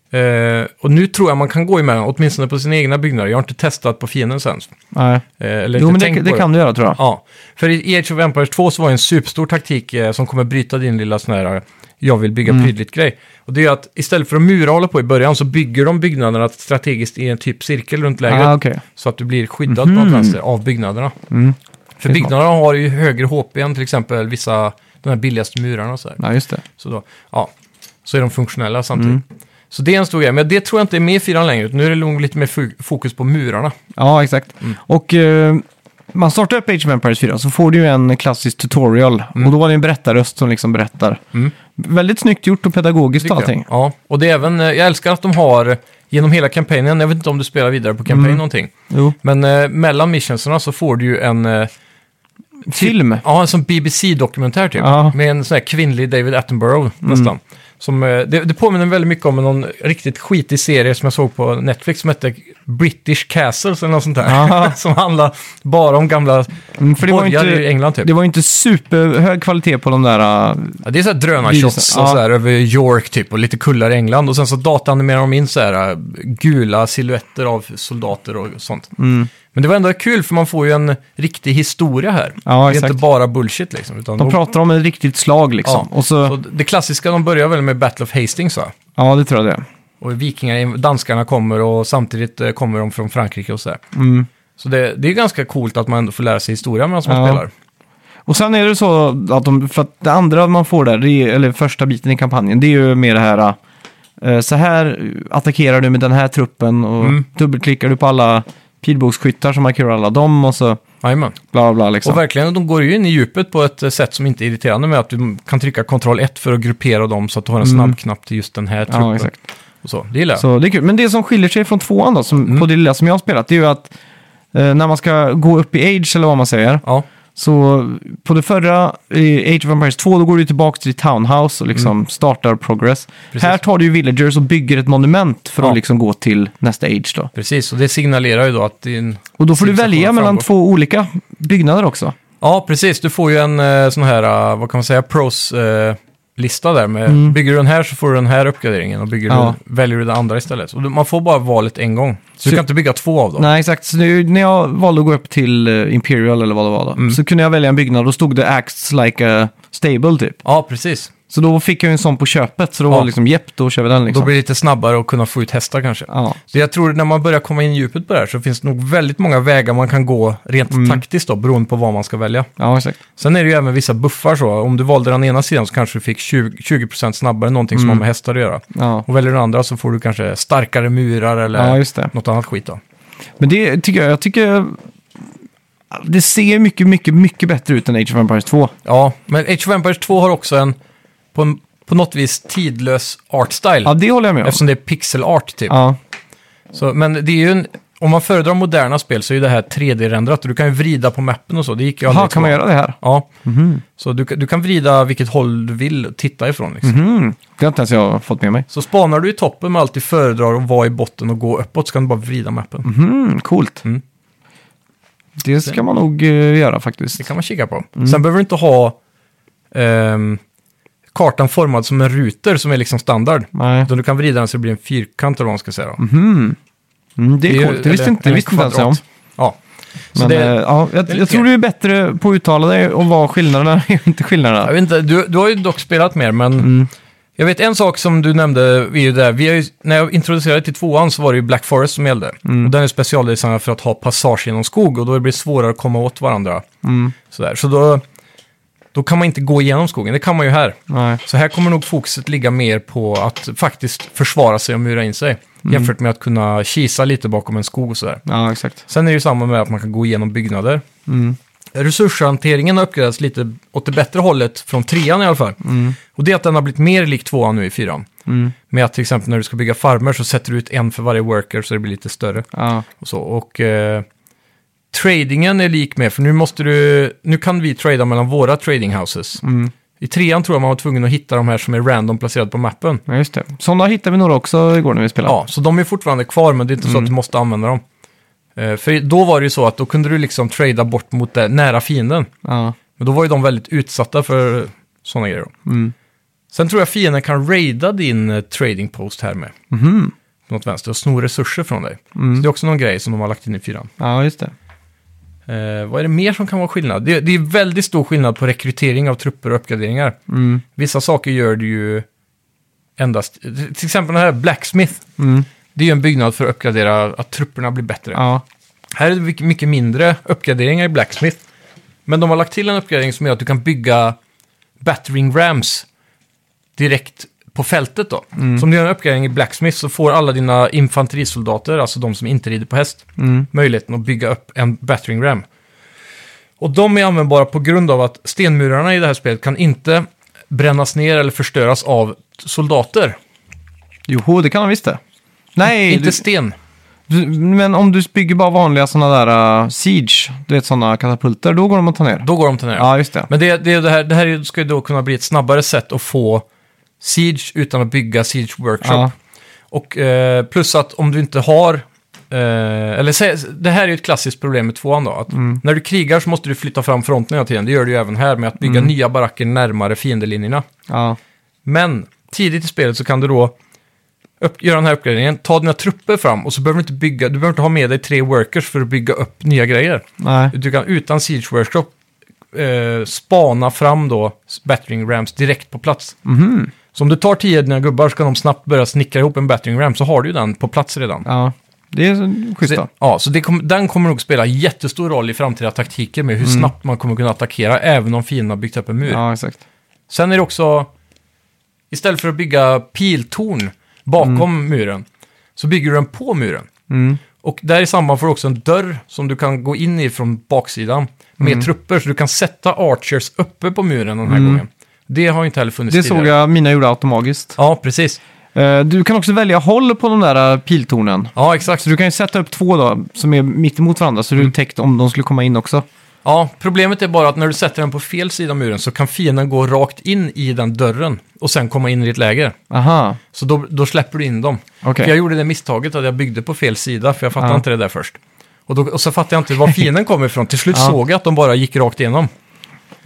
Speaker 2: Eh, och nu tror jag man kan gå emellan, åtminstone på sina egna byggnader. Jag har inte testat på fienden sen.
Speaker 1: Nej.
Speaker 2: Eh, eller
Speaker 1: Jo,
Speaker 2: inte
Speaker 1: men det,
Speaker 2: tänkt
Speaker 1: det
Speaker 2: på
Speaker 1: kan du göra tror jag.
Speaker 2: Ja, för i Age of Empires 2 så var ju en superstor taktik eh, som kommer bryta din lilla sån här eh, jag vill
Speaker 1: Mm.
Speaker 2: bygga prydligt grej. Och det är att istället för att mura hålla på i början så bygger de byggnaderna strategiskt i en typ cirkel runt lägret.
Speaker 1: Ah, okej.
Speaker 2: Så att du blir skyddad på något vänster av byggnaderna. För
Speaker 1: Det är
Speaker 2: byggnaderna har ju högre HP än till exempel vissa, de här billigaste murarna och så här.
Speaker 1: Ja, just det.
Speaker 2: Så, då, ja, så är de funktionella samtidigt. Så det är en stor grej, men det tror jag inte är med i fyran längre. utan Nu är det nog lite mer fo- fokus på murarna.
Speaker 1: Ja, exakt.
Speaker 2: Mm.
Speaker 1: Och eh, man startar upp Age of Empires 4 så får du ju en klassisk tutorial.
Speaker 2: Mm.
Speaker 1: Och då var det en berättarröst som liksom berättar. Väldigt snyggt gjort och pedagogiskt och
Speaker 2: Tycker
Speaker 1: allting.
Speaker 2: jag. Ja, och det är även, eh, jag älskar att de har eh, genom hela kampanjen, jag vet inte om du spelar vidare på kampanjen någonting,
Speaker 1: Jo.
Speaker 2: men eh, mellan missionserna så får du ju en, eh,
Speaker 1: Film.
Speaker 2: ja en sån BBC-dokumentär typ,
Speaker 1: Ja. Mm.
Speaker 2: med en sån här kvinnlig David Attenborough nästan. Som, eh, det, det påminner väldigt mycket om någon riktigt skitig serie som jag såg på Netflix som hette British Castles eller något sånt där.
Speaker 1: Aha.
Speaker 2: som handlar bara om gamla
Speaker 1: Mm, för det var, ju
Speaker 2: borgar i
Speaker 1: inte,
Speaker 2: England typ.
Speaker 1: det var ju inte superhög kvalitet på de där... eh,
Speaker 2: Ja, det är så här drönarshots
Speaker 1: Videos, ja.
Speaker 2: och så här över York typ och lite kullar i England. Och sen så datanimerar de in så här äh, gula silhuetter av soldater och sånt.
Speaker 1: mm.
Speaker 2: Men det var ändå kul för man får ju en riktig historia här.
Speaker 1: Ja,
Speaker 2: det är
Speaker 1: exakt.
Speaker 2: inte bara bullshit liksom. Utan
Speaker 1: De
Speaker 2: då-
Speaker 1: pratar om ett riktigt slag liksom.
Speaker 2: ja.
Speaker 1: Och så,
Speaker 2: så det klassiska, de börjar väl med Battle of Hastings va?
Speaker 1: ja, det tror jag det är.
Speaker 2: Och vikingar, danskarna kommer och samtidigt eh, kommer de från Frankrike och så där.
Speaker 1: Mm.
Speaker 2: Så det, det är ganska coolt att man ändå får lära sig historia medan man
Speaker 1: Ja.
Speaker 2: spelar.
Speaker 1: Och sen är det så att, de, för att det andra man får där, det är, eller första biten i kampanjen, det är ju mer det här... eh, Så här attackerar du med den här truppen och
Speaker 2: Mm.
Speaker 1: dubbelklickar du på alla pilbågsskyttar som markerar alla dem och så
Speaker 2: Jajamän.
Speaker 1: bla bla, bla liksom.
Speaker 2: Och verkligen, de går ju in i djupet på ett eh, sätt som inte är irriterande med att du kan trycka kontroll 1 för att gruppera dem så att du har en
Speaker 1: Mm.
Speaker 2: snabbknapp till just den här truppen.
Speaker 1: ja, exakt.
Speaker 2: Och så. Det gillar jag.
Speaker 1: Så det är kul. Men det som skiljer sig från tvåan då, som,
Speaker 2: Mm.
Speaker 1: på det lilla som jag har spelat, det är ju att eh, när man ska gå upp i age eller vad man säger,
Speaker 2: Ja,
Speaker 1: så på det förra, i Age of Empires 2, då går du tillbaka till ditt townhouse och liksom startar progress.
Speaker 2: Mm. Precis.
Speaker 1: Här tar du ju villagers och bygger ett monument för
Speaker 2: Ja.
Speaker 1: att liksom gå till nästa age då.
Speaker 2: precis. Och det signalerar ju då att din...
Speaker 1: Och då får du
Speaker 2: Civilization
Speaker 1: välja mellan
Speaker 2: framgår.
Speaker 1: två olika byggnader också.
Speaker 2: Ja, precis. Du får ju en eh, sån här, eh, vad kan man säga, pros-lista där med bygger du den här så får du den här uppgraderingen och bygger
Speaker 1: Mm. Ja.
Speaker 2: du, väljer du den andra istället. Och du, man får bara valet en gång. Så,
Speaker 1: Så-
Speaker 2: du kan inte bygga två av dem.
Speaker 1: Nej, exakt. Så nu, när jag valde att gå upp till eh, Imperial eller vad det var då,
Speaker 2: Mm.
Speaker 1: så kunde jag välja en byggnad och stod det Acts like a stable typ.
Speaker 2: Ja, precis.
Speaker 1: Så då fick jag ju en sån på köpet, så då var
Speaker 2: Ja.
Speaker 1: det liksom jepp, då kör vi den liksom.
Speaker 2: Då blir det lite snabbare att kunna få ut hästar kanske.
Speaker 1: Ja.
Speaker 2: Så jag tror när man börjar komma in i djupet på det här så finns det nog väldigt många vägar man kan gå rent
Speaker 1: Mm.
Speaker 2: taktiskt då, beroende på vad man ska välja.
Speaker 1: ja, exakt.
Speaker 2: Sen är det ju även vissa buffar så. Om du valde den ena sidan så kanske du fick 20%, 20 snabbare någonting
Speaker 1: Mm.
Speaker 2: som har med hästar att göra.
Speaker 1: Ja.
Speaker 2: Och väljer du den andra så får du kanske starkare murar
Speaker 1: ja,
Speaker 2: eller
Speaker 1: just det.
Speaker 2: något annat skit då.
Speaker 1: Men det tycker jag, jag tycker... Det ser mycket, mycket, mycket bättre ut än Age of Empires 2.
Speaker 2: Ja, men Age of Empires 2 har också en på, en, på något vis tidlös art style.
Speaker 1: Ja, det håller jag med om.
Speaker 2: Eftersom det är pixel art typ.
Speaker 1: Ja,
Speaker 2: Så, men det är ju en, om man föredrar moderna spel så är ju det här 3D-renderat och du kan ju vrida på mappen och så. Det gick ju aldrig
Speaker 1: Aha,
Speaker 2: i
Speaker 1: kan man
Speaker 2: tvåan.
Speaker 1: göra Mhm. det här?
Speaker 2: Ja, så du, kan- du kan vrida vilket håll du vill titta ifrån. Liksom.
Speaker 1: Mhm. Det har inte ens jag fått med mig.
Speaker 2: Så spanar du i toppen men alltid föredrar att vara i botten och gå uppåt så kan du bara vrida mappen.
Speaker 1: Mhm, coolt.
Speaker 2: Mm.
Speaker 1: Det ska man nog eh, göra
Speaker 2: Det
Speaker 1: faktiskt.
Speaker 2: kan man kika på. Sen behöver du inte ha ehm, kartan formad som en ruter som är liksom standard.
Speaker 1: Nej.
Speaker 2: Utan du kan vrida den så det blir en fyrkant eller vad man ska säga. Då.
Speaker 1: Mm, det är
Speaker 2: ju-
Speaker 1: coolt, det visste
Speaker 2: Mhm. eller
Speaker 1: inte,
Speaker 2: en
Speaker 1: det visste inte ens jag om.
Speaker 2: kvadrat. Ja. Så
Speaker 1: Men,
Speaker 2: det,
Speaker 1: eh, ja, jag,
Speaker 2: lite
Speaker 1: jag tror
Speaker 2: fel.
Speaker 1: du är bättre på att uttala dig och vad skillnaderna är och inte
Speaker 2: jag
Speaker 1: skillnaderna.
Speaker 2: vet inte, du, du har ju dock spelat mer, men
Speaker 1: Mm.
Speaker 2: jag vet en sak som du nämnde, är ju där, vi har ju, när jag introducerade till tvåan så var det ju Black Forest som gällde.
Speaker 1: Mm.
Speaker 2: Och den är specialdesignad för att ha passage genom skog och då blir det svårare att komma åt varandra.
Speaker 1: Mm.
Speaker 2: Sådär. Så då, då kan man inte gå igenom skogen, det kan man ju här.
Speaker 1: Nej.
Speaker 2: Så här kommer nog fokuset ligga mer på att faktiskt försvara sig och mura in sig.
Speaker 1: Mm.
Speaker 2: Jämfört med att kunna kisa lite bakom en skog och sådär.
Speaker 1: Ja, exakt. Mm,
Speaker 2: Sen är det ju samma med att man kan gå igenom byggnader. Resurshanteringen har uppgraderats lite åt det bättre hållet från trean i alla fall. Och det är att den har blivit mer lik tvåan nu i fyran.
Speaker 1: mm.
Speaker 2: Med att till exempel när du ska bygga farmer så sätter du ut en för varje worker så det blir lite större.
Speaker 1: Ja.
Speaker 2: Och, så. och eh, tradingen är lik med, för nu måste du, nu kan vi trada mellan våra trading houses.
Speaker 1: mm.
Speaker 2: I trean tror jag man var tvungen att hitta de här som är random placerade på mappen.
Speaker 1: ja, just det. Sådana hittade vi några också igår när vi spelade.
Speaker 2: Ja, så de är fortfarande kvar, men det är inte så att du måste använda dem. Eh, För då var det ju så att då kunde du liksom trada bort mot det nära fienden.
Speaker 1: Ja.
Speaker 2: Men då var ju de väldigt utsatta för sådana grejer. då.
Speaker 1: Mm.
Speaker 2: Sen tror jag fienden kan raida din eh, trading post här med.
Speaker 1: Mhm.
Speaker 2: På något vänster och sno resurser från dig.
Speaker 1: Mm.
Speaker 2: Så det är också någon grej som de har lagt in i fyran.
Speaker 1: ja, just det.
Speaker 2: Eh, vad är det mer som kan vara skillnad? Det, det är väldigt stor skillnad på rekrytering av trupper och uppgraderingar.
Speaker 1: Mm.
Speaker 2: Vissa saker gör du ju endast... Till exempel den här Blacksmith.
Speaker 1: Mm.
Speaker 2: Det är ju en byggnad för att uppgradera att trupperna blir bättre.
Speaker 1: Ja.
Speaker 2: Här är det mycket- mycket mindre uppgraderingar i Blacksmith. Men de har lagt till en uppgradering som gör att du kan bygga battering rams direkt på fältet då.
Speaker 1: Mm.
Speaker 2: Så om du gör en uppgradering i Blacksmith så får alla dina infanterisoldater, alltså de som inte rider på häst,
Speaker 1: Mm.
Speaker 2: möjligheten att bygga upp en battering ram. Och de är användbara på grund av att stenmurarna i det här spelet kan inte brännas ner eller förstöras av soldater.
Speaker 1: Joho, det kan han visst det. Nej,
Speaker 2: inte
Speaker 1: du-
Speaker 2: sten.
Speaker 1: du, men om du bygger bara vanliga sådana där uh, siege, du vet sådana katapulter, då går de att ta ner.
Speaker 2: Då går de till ner.
Speaker 1: Ja, just det.
Speaker 2: Men det, det, är det, här, det här ska ju då kunna bli ett snabbare sätt att få Siege utan att bygga Siege Workshop.
Speaker 1: Ja.
Speaker 2: Och eh, plus att om du inte har... Eh, eller sä- det här är ju ett klassiskt problem med tvåan då. Att När du krigar så måste du flytta fram fronten hela tiden. Det gör du ju även här med att bygga nya baracker närmare fiendelinjerna.
Speaker 1: Ja.
Speaker 2: Men tidigt i spelet så kan du då upp, göra den här uppgraderingen, ta dina trupper fram och så behöver du inte bygga, du behöver inte ha med dig tre workers för att bygga upp nya grejer.
Speaker 1: Nej.
Speaker 2: Du kan utan Siege Workshop eh, spana fram då battering rams direkt på plats.
Speaker 1: Mhm.
Speaker 2: Så om du tar tio av dina gubbar så kan de snabbt börja snickra ihop en battering ram så har du ju den på plats redan.
Speaker 1: Ja. Det är så- schysst
Speaker 2: Så,
Speaker 1: då.
Speaker 2: ja, så det kom, den kommer nog spela jättestor roll i framtida taktiker med hur snabbt man kommer kunna attackera även om fienden har byggt upp en mur.
Speaker 1: Mm. Ja, exakt.
Speaker 2: Sen är det också, istället för att bygga piltorn bakom muren så bygger du den på muren.
Speaker 1: Mm.
Speaker 2: Och där i samband får du också en dörr som du kan gå in i från baksidan med
Speaker 1: Mm.
Speaker 2: trupper. Så du kan sätta archers uppe på muren den här gången. Det har ju inte heller funnits
Speaker 1: Det
Speaker 2: tidigare.
Speaker 1: såg jag mina gjorde automatiskt.
Speaker 2: Ja, precis.
Speaker 1: Eh, Du kan också välja håll på de där eh, piltornen.
Speaker 2: Ja, exakt.
Speaker 1: Så du kan ju sätta upp två då, som är mitt emot varandra, så du är täckt om de skulle komma in också.
Speaker 2: Ja, problemet är bara att när du sätter den på fel sida av muren så kan fienden gå rakt in i den dörren och sen komma in i ditt läger.
Speaker 1: Aha,
Speaker 2: Så då, då släpper du in dem.
Speaker 1: okej.
Speaker 2: För jag gjorde det misstaget att jag byggde på fel sida, för jag fattade
Speaker 1: Ja.
Speaker 2: inte det där först. Och, då, och så fattade jag inte var fienden kom ifrån. Till slut
Speaker 1: Ja.
Speaker 2: såg jag att de bara gick rakt igenom.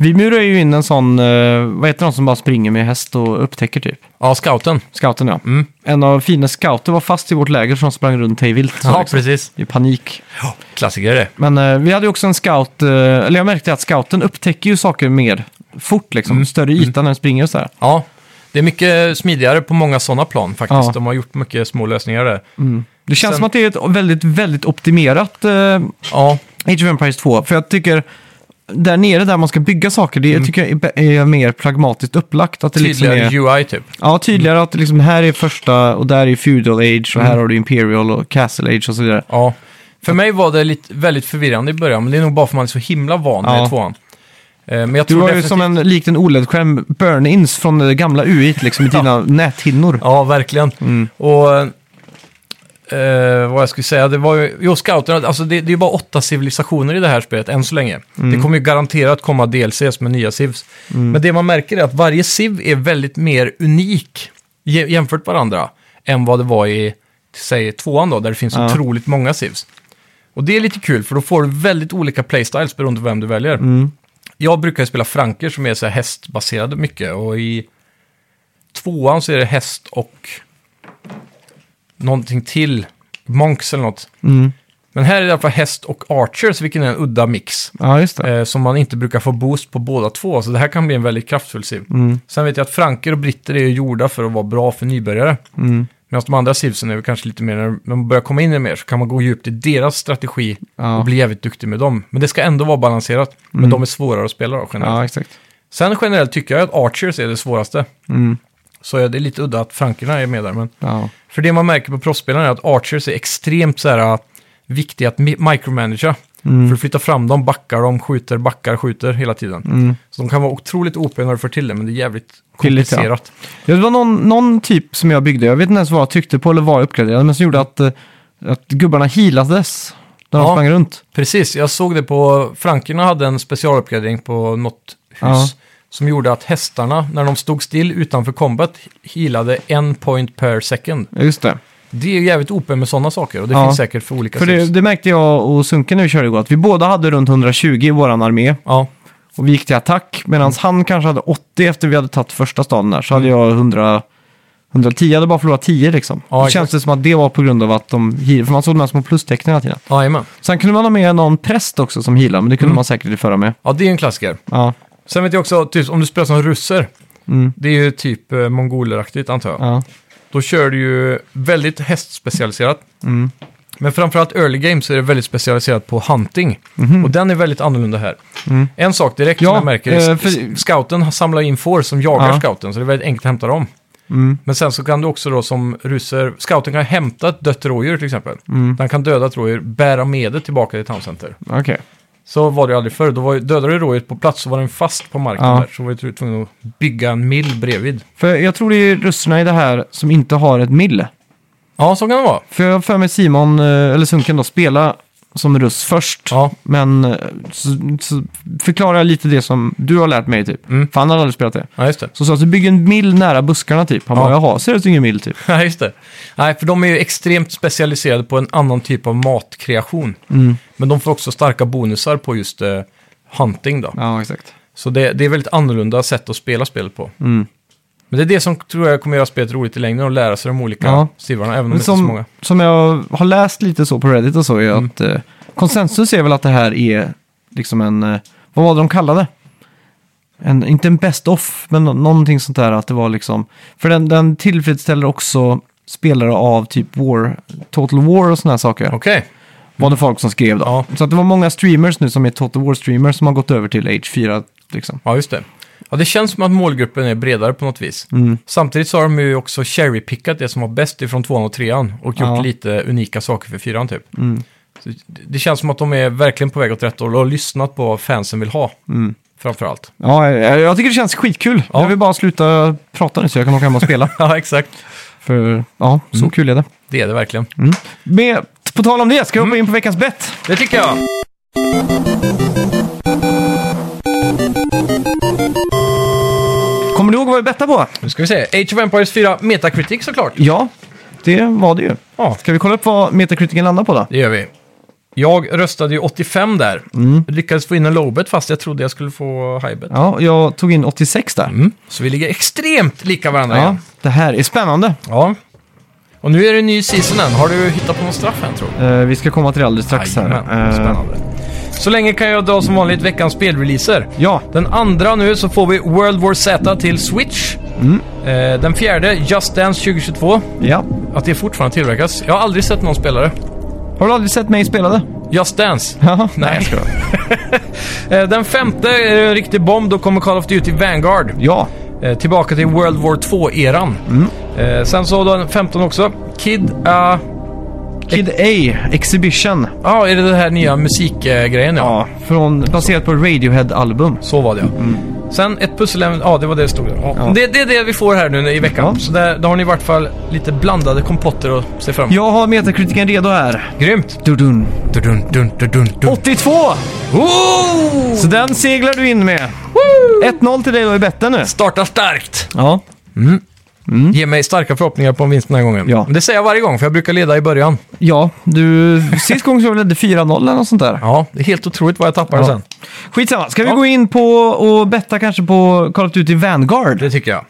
Speaker 1: Vi murar ju in en sån, eh, vad heter de som bara springer med häst och upptäcker typ?
Speaker 2: Ja, scouten.
Speaker 1: Scouten ja.
Speaker 2: Mm.
Speaker 1: En av fina scouter var fast i vårt läger som sprang runt hej vilt. så
Speaker 2: Ja,
Speaker 1: liksom,
Speaker 2: precis.
Speaker 1: I panik.
Speaker 2: Klassiker det.
Speaker 1: Men eh, vi hade ju också en scout, eh, eller jag märkte att scouten upptäcker ju saker mer fort liksom.
Speaker 2: Mm.
Speaker 1: Större yta när den springer och så här.
Speaker 2: Ja, det är mycket smidigare på många sådana plan faktiskt.
Speaker 1: Ja. Mm.
Speaker 2: De har gjort mycket små lösningar där.
Speaker 1: Det känns
Speaker 2: Sen-
Speaker 1: som att det är ett väldigt, väldigt optimerat eh,
Speaker 2: Ja,
Speaker 1: Age of Empires 2. För jag tycker, där nere där man ska bygga saker, det tycker jag är, be- är mer pragmatiskt upplagt. Att det liksom
Speaker 2: Mm. tydligare
Speaker 1: är,
Speaker 2: UI typ.
Speaker 1: ja, tydligare att det liksom här är första och där är feudal age och här
Speaker 2: Mm.
Speaker 1: har du imperial och castle age och så vidare.
Speaker 2: Ja. För mig var det lite, väldigt förvirrande i början, men det är nog bara för att man är så himla van med
Speaker 1: Ja.
Speaker 2: tvåan. Eh, Men jag
Speaker 1: Du
Speaker 2: tror
Speaker 1: har ju
Speaker 2: definitivt-
Speaker 1: som en, likt en OLED-skärm, burn-ins från det gamla UI liksom i dina näthinnor.
Speaker 2: Ja, verkligen. Och eh, vad jag skulle säga, det var ju... Jo, scouterna, alltså det, det är ju bara åtta civilisationer i det här spelet än så länge. Det kommer ju garanterat komma DLCs med nya civs. Men det man märker är att varje civ är väldigt mer unik jä- jämfört med varandra än vad det var i, säg tvåan då, där det finns
Speaker 1: Ja.
Speaker 2: otroligt många civs. Och det är lite kul, för då får du väldigt olika playstyles beroende på vem du väljer. Jag brukar ju spela franker som är så här hästbaserade mycket och i tvåan så är det häst och någonting till. Monks eller något.
Speaker 1: Mm.
Speaker 2: Men här är det i alla fall häst och Archers, vilken är en udda mix.
Speaker 1: Ja, just det.
Speaker 2: Eh, som man inte brukar få boost på båda två, så det här kan bli en väldigt kraftfull siv.
Speaker 1: Mm.
Speaker 2: Sen vet jag att franker och britter är ju gjorda för att vara bra för nybörjare.
Speaker 1: Mm.
Speaker 2: Medan de andra sivsen är väl kanske lite mer, när man börjar komma in i det mer så kan man gå djupt i deras strategi
Speaker 1: Ja. Mm.
Speaker 2: och bli jävligt duktig med dem. Men det ska ändå vara balanserat. Men de är svårare att spela då generellt.
Speaker 1: Ja, exakt.
Speaker 2: Sen generellt tycker jag att Archers är det svåraste.
Speaker 1: Mm.
Speaker 2: Så är det är lite udda att frankerna är med där. Men
Speaker 1: Ja.
Speaker 2: för det man märker på proffsspelarna är att Archers är extremt så här, äh, viktiga att mi- micromanagera.
Speaker 1: Mm.
Speaker 2: För att flytta fram dem, backar dem, skjuter, backar, skjuter hela tiden.
Speaker 1: Mm.
Speaker 2: Så de kan vara otroligt OP när du får till det, men det är jävligt
Speaker 1: Billigt, ja.
Speaker 2: komplicerat.
Speaker 1: Ja, Det var någon, någon typ som jag byggde, jag vet inte ens vad jag tyckte på eller vad jag uppgraderade, men som gjorde att, eh, att gubbarna healades när de
Speaker 2: Ja.
Speaker 1: sprang runt.
Speaker 2: Precis, jag såg det på... Frankerna hade en specialuppgradering på något hus.
Speaker 1: Ja.
Speaker 2: Som gjorde att hästarna, när de stod still utanför combat, healade en point per second.
Speaker 1: Ja, Just det.
Speaker 2: Det är jävligt OP med sådana saker och det
Speaker 1: Ja.
Speaker 2: finns säkert för olika
Speaker 1: För det,
Speaker 2: sivs.
Speaker 1: det märkte jag och Sunken när vi körde igår, att vi båda hade runt 120 i våran armé
Speaker 2: Ja,
Speaker 1: och vi gick till attack, medan
Speaker 2: Mm.
Speaker 1: han kanske hade 80 efter vi hade tagit första staden där, så hade jag 100, 110, jag hade bara förlorat 10 liksom.
Speaker 2: Ja,
Speaker 1: Då
Speaker 2: exakt.
Speaker 1: känns det som att det var på grund av att de healade, för man såg de här små plustecknen hela tiden.
Speaker 2: jajamän.
Speaker 1: Sen kunde man ha med någon präst också som healade, men det kunde
Speaker 2: Mm.
Speaker 1: man säkert föra med.
Speaker 2: Ja, det är en klassiker.
Speaker 1: Ja,
Speaker 2: Sen vet jag också, typ, om du spelar som russer,
Speaker 1: Mm.
Speaker 2: det är ju typ eh, mongoleraktigt antar jag.
Speaker 1: ja.
Speaker 2: Då kör du ju väldigt hästspecialiserat.
Speaker 1: Mm.
Speaker 2: Men framförallt early game så är det väldigt specialiserat på hunting. Och den är väldigt annorlunda här.
Speaker 1: Mhm. Mm.
Speaker 2: En sak direkt som
Speaker 1: Ja,
Speaker 2: jag märker är
Speaker 1: eh,
Speaker 2: att
Speaker 1: för-
Speaker 2: scouten samlar in får som jagar
Speaker 1: Ja.
Speaker 2: scouten, så det är väldigt enkelt att hämta dem.
Speaker 1: Mm.
Speaker 2: Men sen så kan du också då som russer, scouten kan hämta ett dött rådjur till exempel.
Speaker 1: Mm.
Speaker 2: Den kan döda ett rådjur, bära med det tillbaka till town center.
Speaker 1: Okej.
Speaker 2: Så var det ju aldrig förr. Då var, ju- dödade du rådjuret på plats så var den fast på marken
Speaker 1: Ja.
Speaker 2: där. Så var du tvungen att bygga en mill bredvid.
Speaker 1: För jag tror det är russerna i det här som inte har ett mill.
Speaker 2: Ja, så kan det vara.
Speaker 1: För jag har för mig Simon, eh, eller Sunken då, spela som russ först.
Speaker 2: Ja,
Speaker 1: Men eh, så, så förklarar jag lite det som du har lärt mig typ.
Speaker 2: Mm.
Speaker 1: För han hade aldrig spelat det.
Speaker 2: ja just det.
Speaker 1: Så sa jag att du bygger en mill nära buskarna typ. Han bara,
Speaker 2: Ja.
Speaker 1: jaha, ser det ut som en mill typ.
Speaker 2: Ja, just det. Nej, för de är ju extremt specialiserade på en annan typ av matkreation.
Speaker 1: Mm.
Speaker 2: Men de får också starka bonusar på just eh, hunting då.
Speaker 1: Ja, exakt.
Speaker 2: Så det, det är väldigt annorlunda sätt att spela spelet på.
Speaker 1: Mm.
Speaker 2: Men det är det som tror jag kommer göra spelet roligt i längden och lära sig de olika
Speaker 1: Ja.
Speaker 2: stivarna, även om det
Speaker 1: Men
Speaker 2: inte är så
Speaker 1: som,
Speaker 2: många. Mm.
Speaker 1: som jag har läst lite så på Reddit och så är att eh, konsensus är väl att det här är liksom en, eh, vad var det de kallade? En, inte en best off, men nå- någonting sånt där att det var liksom, för den, den tillfredsställer också spelare av typ War, Total War och såna här saker.
Speaker 2: Okej,
Speaker 1: Var det folk som skrev då.
Speaker 2: Ja.
Speaker 1: Så att det var många streamers nu som är Total War-streamers som har gått över till H4 liksom.
Speaker 2: ja just det. Ja, det känns som att målgruppen är bredare på något vis. Samtidigt så har de ju också cherry-pickat det som var bäst ifrån tvåan och trean och gjort
Speaker 1: Ja.
Speaker 2: lite unika saker för fyran typ. Så det- det känns som att de är verkligen på väg åt rätt håll och har lyssnat på vad fansen vill ha. Framförallt.
Speaker 1: Ja, eh, jag, jag tycker det känns skitkul.
Speaker 2: Ja.
Speaker 1: Jag vill bara sluta prata nu så jag kan åka hem och spela.
Speaker 2: Ja, exakt.
Speaker 1: För ja, så
Speaker 2: Mm.
Speaker 1: kul är det.
Speaker 2: Det är det verkligen.
Speaker 1: Med, på tal om det, ska vi
Speaker 2: Mm.
Speaker 1: hoppa in på veckans bett?
Speaker 2: Det tycker jag.
Speaker 1: Kommer du ihåg vad vi bettade på?
Speaker 2: Nu ska vi se. Age of Empires 4 Metacritic såklart.
Speaker 1: Ja, det var det ju.
Speaker 2: Ja,
Speaker 1: Ska vi kolla upp vad metakritiken landar på då?
Speaker 2: det gör vi. Jag röstade ju 85 där. Lyckades få in en lowbet fast jag trodde jag skulle få highbet.
Speaker 1: Ja, jag tog in 86 där.
Speaker 2: Mm. Så vi ligger extremt lika varandra
Speaker 1: Ja,
Speaker 2: igen.
Speaker 1: det här är spännande.
Speaker 2: Ja. Och nu är det ny season än. Har du hittat på någon straff än tror du?
Speaker 1: Eh, vi ska komma till det alldeles strax här.
Speaker 2: Jajamän,
Speaker 1: Eh,
Speaker 2: Spännande. Så länge kan jag dra som vanligt veckans spelreleaser.
Speaker 1: Ja.
Speaker 2: Den andra nu så får vi World War Z till Switch.
Speaker 1: Mm.
Speaker 2: Eh, den fjärde Just Dance 2022.
Speaker 1: ja.
Speaker 2: Att det fortfarande tillverkas. Jag har aldrig sett någon spelare.
Speaker 1: Har du aldrig sett mig spela det?
Speaker 2: Just Dance.
Speaker 1: Haha,
Speaker 2: Nej.
Speaker 1: jag skojar.
Speaker 2: Eh, Den femte är en riktig bomb. Då kommer Call of Duty Vanguard.
Speaker 1: Ja,
Speaker 2: Eh, Tillbaka till World War 2-eran.
Speaker 1: Mm.
Speaker 2: Eh, Sen så den 15 också. Kid... ah, Ja,
Speaker 1: Kid A, Exhibition.
Speaker 2: ah, är det den här nya musikgrejen? Ja.
Speaker 1: Ja, från, baserat på Radiohead-album.
Speaker 2: Så var det ja. Sen ett pusselämne, ja det var det det stod där. ja.
Speaker 1: Mm. Ja.
Speaker 2: det, det är det vi får här nu i veckan. Så där, då har ni i vart fall lite blandade kompotter att se fram emot.
Speaker 1: Jag har metakritiken redo här.
Speaker 2: Grymt!
Speaker 1: Dudun.
Speaker 2: Dun, dun, dun, dun, dun.
Speaker 1: 82!
Speaker 2: Oh!
Speaker 1: Så den seglar du in med. 1-0 till dig då i betten nu.
Speaker 2: Starta starkt!
Speaker 1: Ja.
Speaker 2: Ge mig starka förhoppningar på en vinst den här gången.
Speaker 1: Mm. Ja.
Speaker 2: Men Det säger jag varje gång, för jag brukar leda i början.
Speaker 1: Ja, du, sist gången så ledde 4-0 eller något sånt där.
Speaker 2: Ja, det är helt otroligt vad jag tappar
Speaker 1: Ja.
Speaker 2: sen.
Speaker 1: Skitsamma, ska vi
Speaker 2: Ja.
Speaker 1: gå in på och betta kanske på Call of Duty Vanguard?
Speaker 2: Det tycker jag.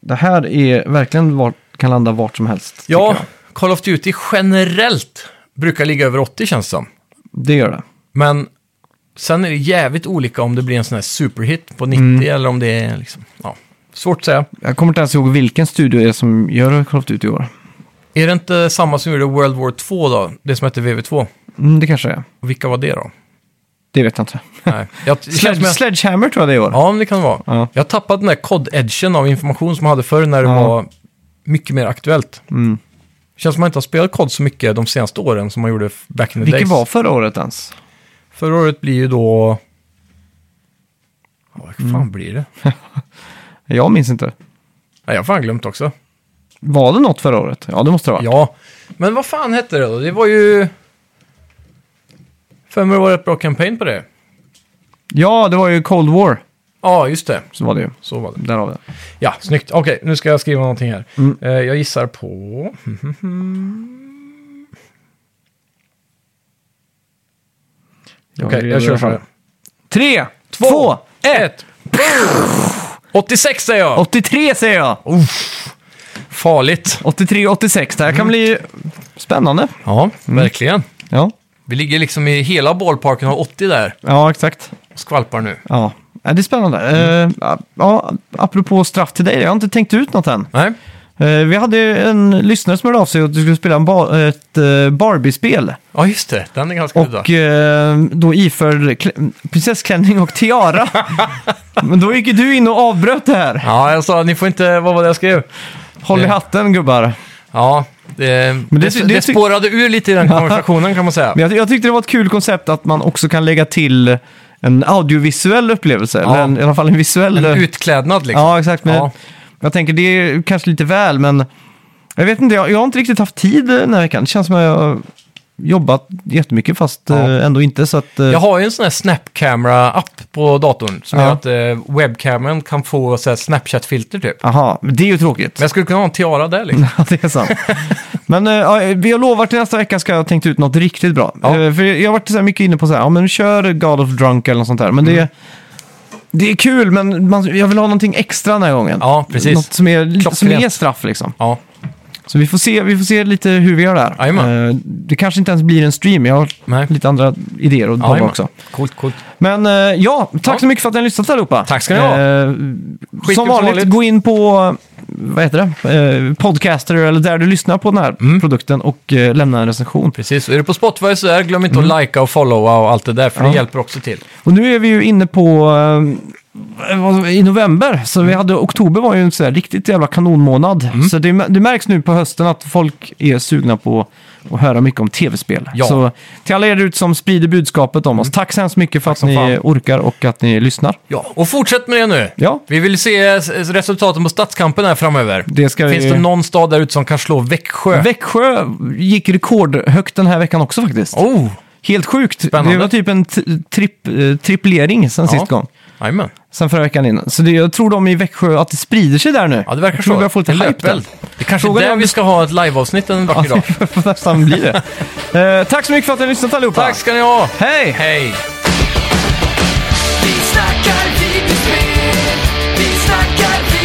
Speaker 1: Det här är verkligen vart, kan landa vart som helst. tycker
Speaker 2: Ja,
Speaker 1: jag.
Speaker 2: Call of Duty generellt brukar ligga över 80 känns det som.
Speaker 1: Det gör det.
Speaker 2: Men sen är det jävligt olika om det blir en sån här superhit på 90
Speaker 1: Mm.
Speaker 2: eller om det är liksom, ja, svårt att säga.
Speaker 1: Jag kommer inte ens ihåg vilken studio det är som gör Call of Duty i år.
Speaker 2: Är det inte samma som gjorde World War 2 då? Det som hette VV2?
Speaker 1: Mm, det kanske det är.
Speaker 2: Och vilka var det då?
Speaker 1: Det vet jag inte.
Speaker 2: Nej. Jag, det känns som
Speaker 1: Sledge,
Speaker 2: jag,
Speaker 1: Sledgehammer tror jag det är i år.
Speaker 2: ja, men det kan det vara.
Speaker 1: Ja.
Speaker 2: Jag har tappat den där cod-edgen av information som jag hade förr när det
Speaker 1: Ja.
Speaker 2: var mycket mer aktuellt.
Speaker 1: Mm.
Speaker 2: Känns som att man inte har spelat kod så mycket de senaste åren som man gjorde back in the
Speaker 1: Vilken
Speaker 2: days.
Speaker 1: var förra året ens?
Speaker 2: Förra året blir ju då... Ja, vad fan
Speaker 1: Mm.
Speaker 2: blir det?
Speaker 1: Jag minns inte.
Speaker 2: Nej, jag har fan glömt också.
Speaker 1: Var det något förra året? Ja, det måste det vara.
Speaker 2: Ja, men vad fan hette det då? Det var ju... Fem år var ett bra kampanj på det.
Speaker 1: Ja, det var ju Cold War.
Speaker 2: Ja, just det.
Speaker 1: Så var det ju.
Speaker 2: Så var det.
Speaker 1: Därav det.
Speaker 2: Ja, snyggt. Okej, nu ska jag skriva någonting här.
Speaker 1: Mm.
Speaker 2: Eh, jag gissar på...
Speaker 1: Ja,
Speaker 2: Okej,
Speaker 1: det är
Speaker 2: jag
Speaker 1: det
Speaker 2: kör
Speaker 1: i
Speaker 2: så
Speaker 1: alla fall.
Speaker 2: här.
Speaker 1: Tre, två,
Speaker 2: Två,
Speaker 1: ett.
Speaker 2: Ett! 86 säger jag!
Speaker 1: 83 säger jag!
Speaker 2: Farligt.
Speaker 1: 83, 86. Det här kan bli spännande.
Speaker 2: Ja, verkligen.
Speaker 1: Ja,
Speaker 2: Vi ligger liksom i hela bollparken och 80 där
Speaker 1: ja exakt.
Speaker 2: och skvalpar nu.
Speaker 1: Ja. Ja, Det är spännande. Eh, ja, apropå straff till dig, jag har inte tänkt ut något än.
Speaker 2: Nej,
Speaker 1: Eh, vi hade ju en lyssnare som hörde av sig och du skulle spela en ba- ett eh, Barbie-spel.
Speaker 2: ja just det. Den är ganska udda.
Speaker 1: Och eh, då iförd klä- prinsessklänning och tiara. Men då gick ju du in och avbröt det här.
Speaker 2: Ja, jag sa ni får inte... Vad var det jag skrev?
Speaker 1: Håll i
Speaker 2: Det-
Speaker 1: hatten gubbar.
Speaker 2: Ja, det,
Speaker 1: Men det
Speaker 2: det,
Speaker 1: ty-
Speaker 2: det,
Speaker 1: det ty-
Speaker 2: spårade ur lite i den konversationen kan man säga.
Speaker 1: Men jag, jag tyckte det var ett kul koncept att man också kan lägga till en audiovisuell upplevelse.
Speaker 2: Ja.
Speaker 1: Eller en, i alla fall en visuell. eh,
Speaker 2: En utklädnad liksom.
Speaker 1: Ja, exakt. Men
Speaker 2: Ja.
Speaker 1: Jag tänker det är kanske lite väl, men jag vet inte. Jag, jag har inte riktigt haft tid den här veckan. Det känns som att jag har jobbat jättemycket fast
Speaker 2: Ja.
Speaker 1: eh, ändå inte. Så att, eh,
Speaker 2: Jag har ju en sån här Snapcamera-app på datorn som
Speaker 1: Ja.
Speaker 2: gör att eh, webcamen kan få så här Snapchat-filter typ.
Speaker 1: Aha, men det är ju tråkigt.
Speaker 2: Men jag skulle kunna ha en tiara där liksom.
Speaker 1: Ja, det är sant. Men eh, ja, vi har lovat till nästa vecka ska jag ha tänkt ut något riktigt bra.
Speaker 2: Ja.
Speaker 1: Eh, för jag har varit så här mycket inne på så här, ja men kör God of Drunk eller något sånt där. Men
Speaker 2: Mm.
Speaker 1: det, det är kul, men man, jag vill ha någonting extra den här gången.
Speaker 2: Ja, precis.
Speaker 1: Något som är, lite- som
Speaker 2: Klockrent.
Speaker 1: är straff liksom.
Speaker 2: Ja,
Speaker 1: Så vi får se, vi får se lite hur vi gör det här.
Speaker 2: Jajamän.
Speaker 1: Eh, det kanske inte ens blir en stream, jag har
Speaker 2: nej.
Speaker 1: lite andra idéer att bolla
Speaker 2: Jajamän.
Speaker 1: också.
Speaker 2: Coolt, coolt.
Speaker 1: Men eh, ja, tack
Speaker 2: Ja.
Speaker 1: så mycket för att ni har lyssnat allihopa.
Speaker 2: Tack ska ni ha.
Speaker 1: Eh, som
Speaker 2: Skitkul som
Speaker 1: vanligt,
Speaker 2: vanligt.
Speaker 1: gå in på vad heter det? Eh, podcaster eller där du lyssnar på den här
Speaker 2: Mm.
Speaker 1: produkten och eh, lämna en recension.
Speaker 2: Precis, och är du på Spotify så där, glöm inte att likea och followa och allt det där, för
Speaker 1: Mm. Ja.
Speaker 2: det hjälper också till.
Speaker 1: Och nu är vi ju inne på eh, vad- i november, så vi hade, oktober var ju en så här riktigt jävla kanonmånad.
Speaker 2: Mm.
Speaker 1: Så det, det märks nu på hösten att folk är sugna på att höra mycket om tv-spel.
Speaker 2: Ja.
Speaker 1: Så till alla er ute som sprider budskapet om oss, tack så hemskt mycket för att
Speaker 2: som
Speaker 1: ni
Speaker 2: fan.
Speaker 1: orkar och att ni lyssnar.
Speaker 2: Ja, och fortsätt med det nu.
Speaker 1: Ja,
Speaker 2: Vi vill se eh, s- resultaten på stadskampen här framöver.
Speaker 1: det ska
Speaker 2: Finns
Speaker 1: vi...
Speaker 2: det någon stad där ute som kan slå Växjö?
Speaker 1: Växjö gick rekordhögt den här veckan också faktiskt.
Speaker 2: oh,
Speaker 1: Helt sjukt.
Speaker 2: Spännande.
Speaker 1: Det var typ en t- tripp, eh, triplering sen
Speaker 2: Ja.
Speaker 1: sist gång.
Speaker 2: jajamän.
Speaker 1: Sen förra veckan innan. Så det, jag tror de i Växjö, att det sprider sig där nu.
Speaker 2: Ja, det verkar
Speaker 1: jag tror
Speaker 2: så.
Speaker 1: vi har fått
Speaker 2: En
Speaker 1: lite hype där.
Speaker 2: löpeld. Det kanske är
Speaker 1: Frågan är
Speaker 2: där
Speaker 1: om
Speaker 2: vi
Speaker 1: det-
Speaker 2: ska ha ett liveavsnitt en vacker dag.
Speaker 1: Det får nästan bli det. Eh, tack så mycket för att ni har lyssnat allihopa.
Speaker 2: Tack ska ni ha!
Speaker 1: Hej!
Speaker 2: Hej!
Speaker 3: Vi snackar videospel, vi snackar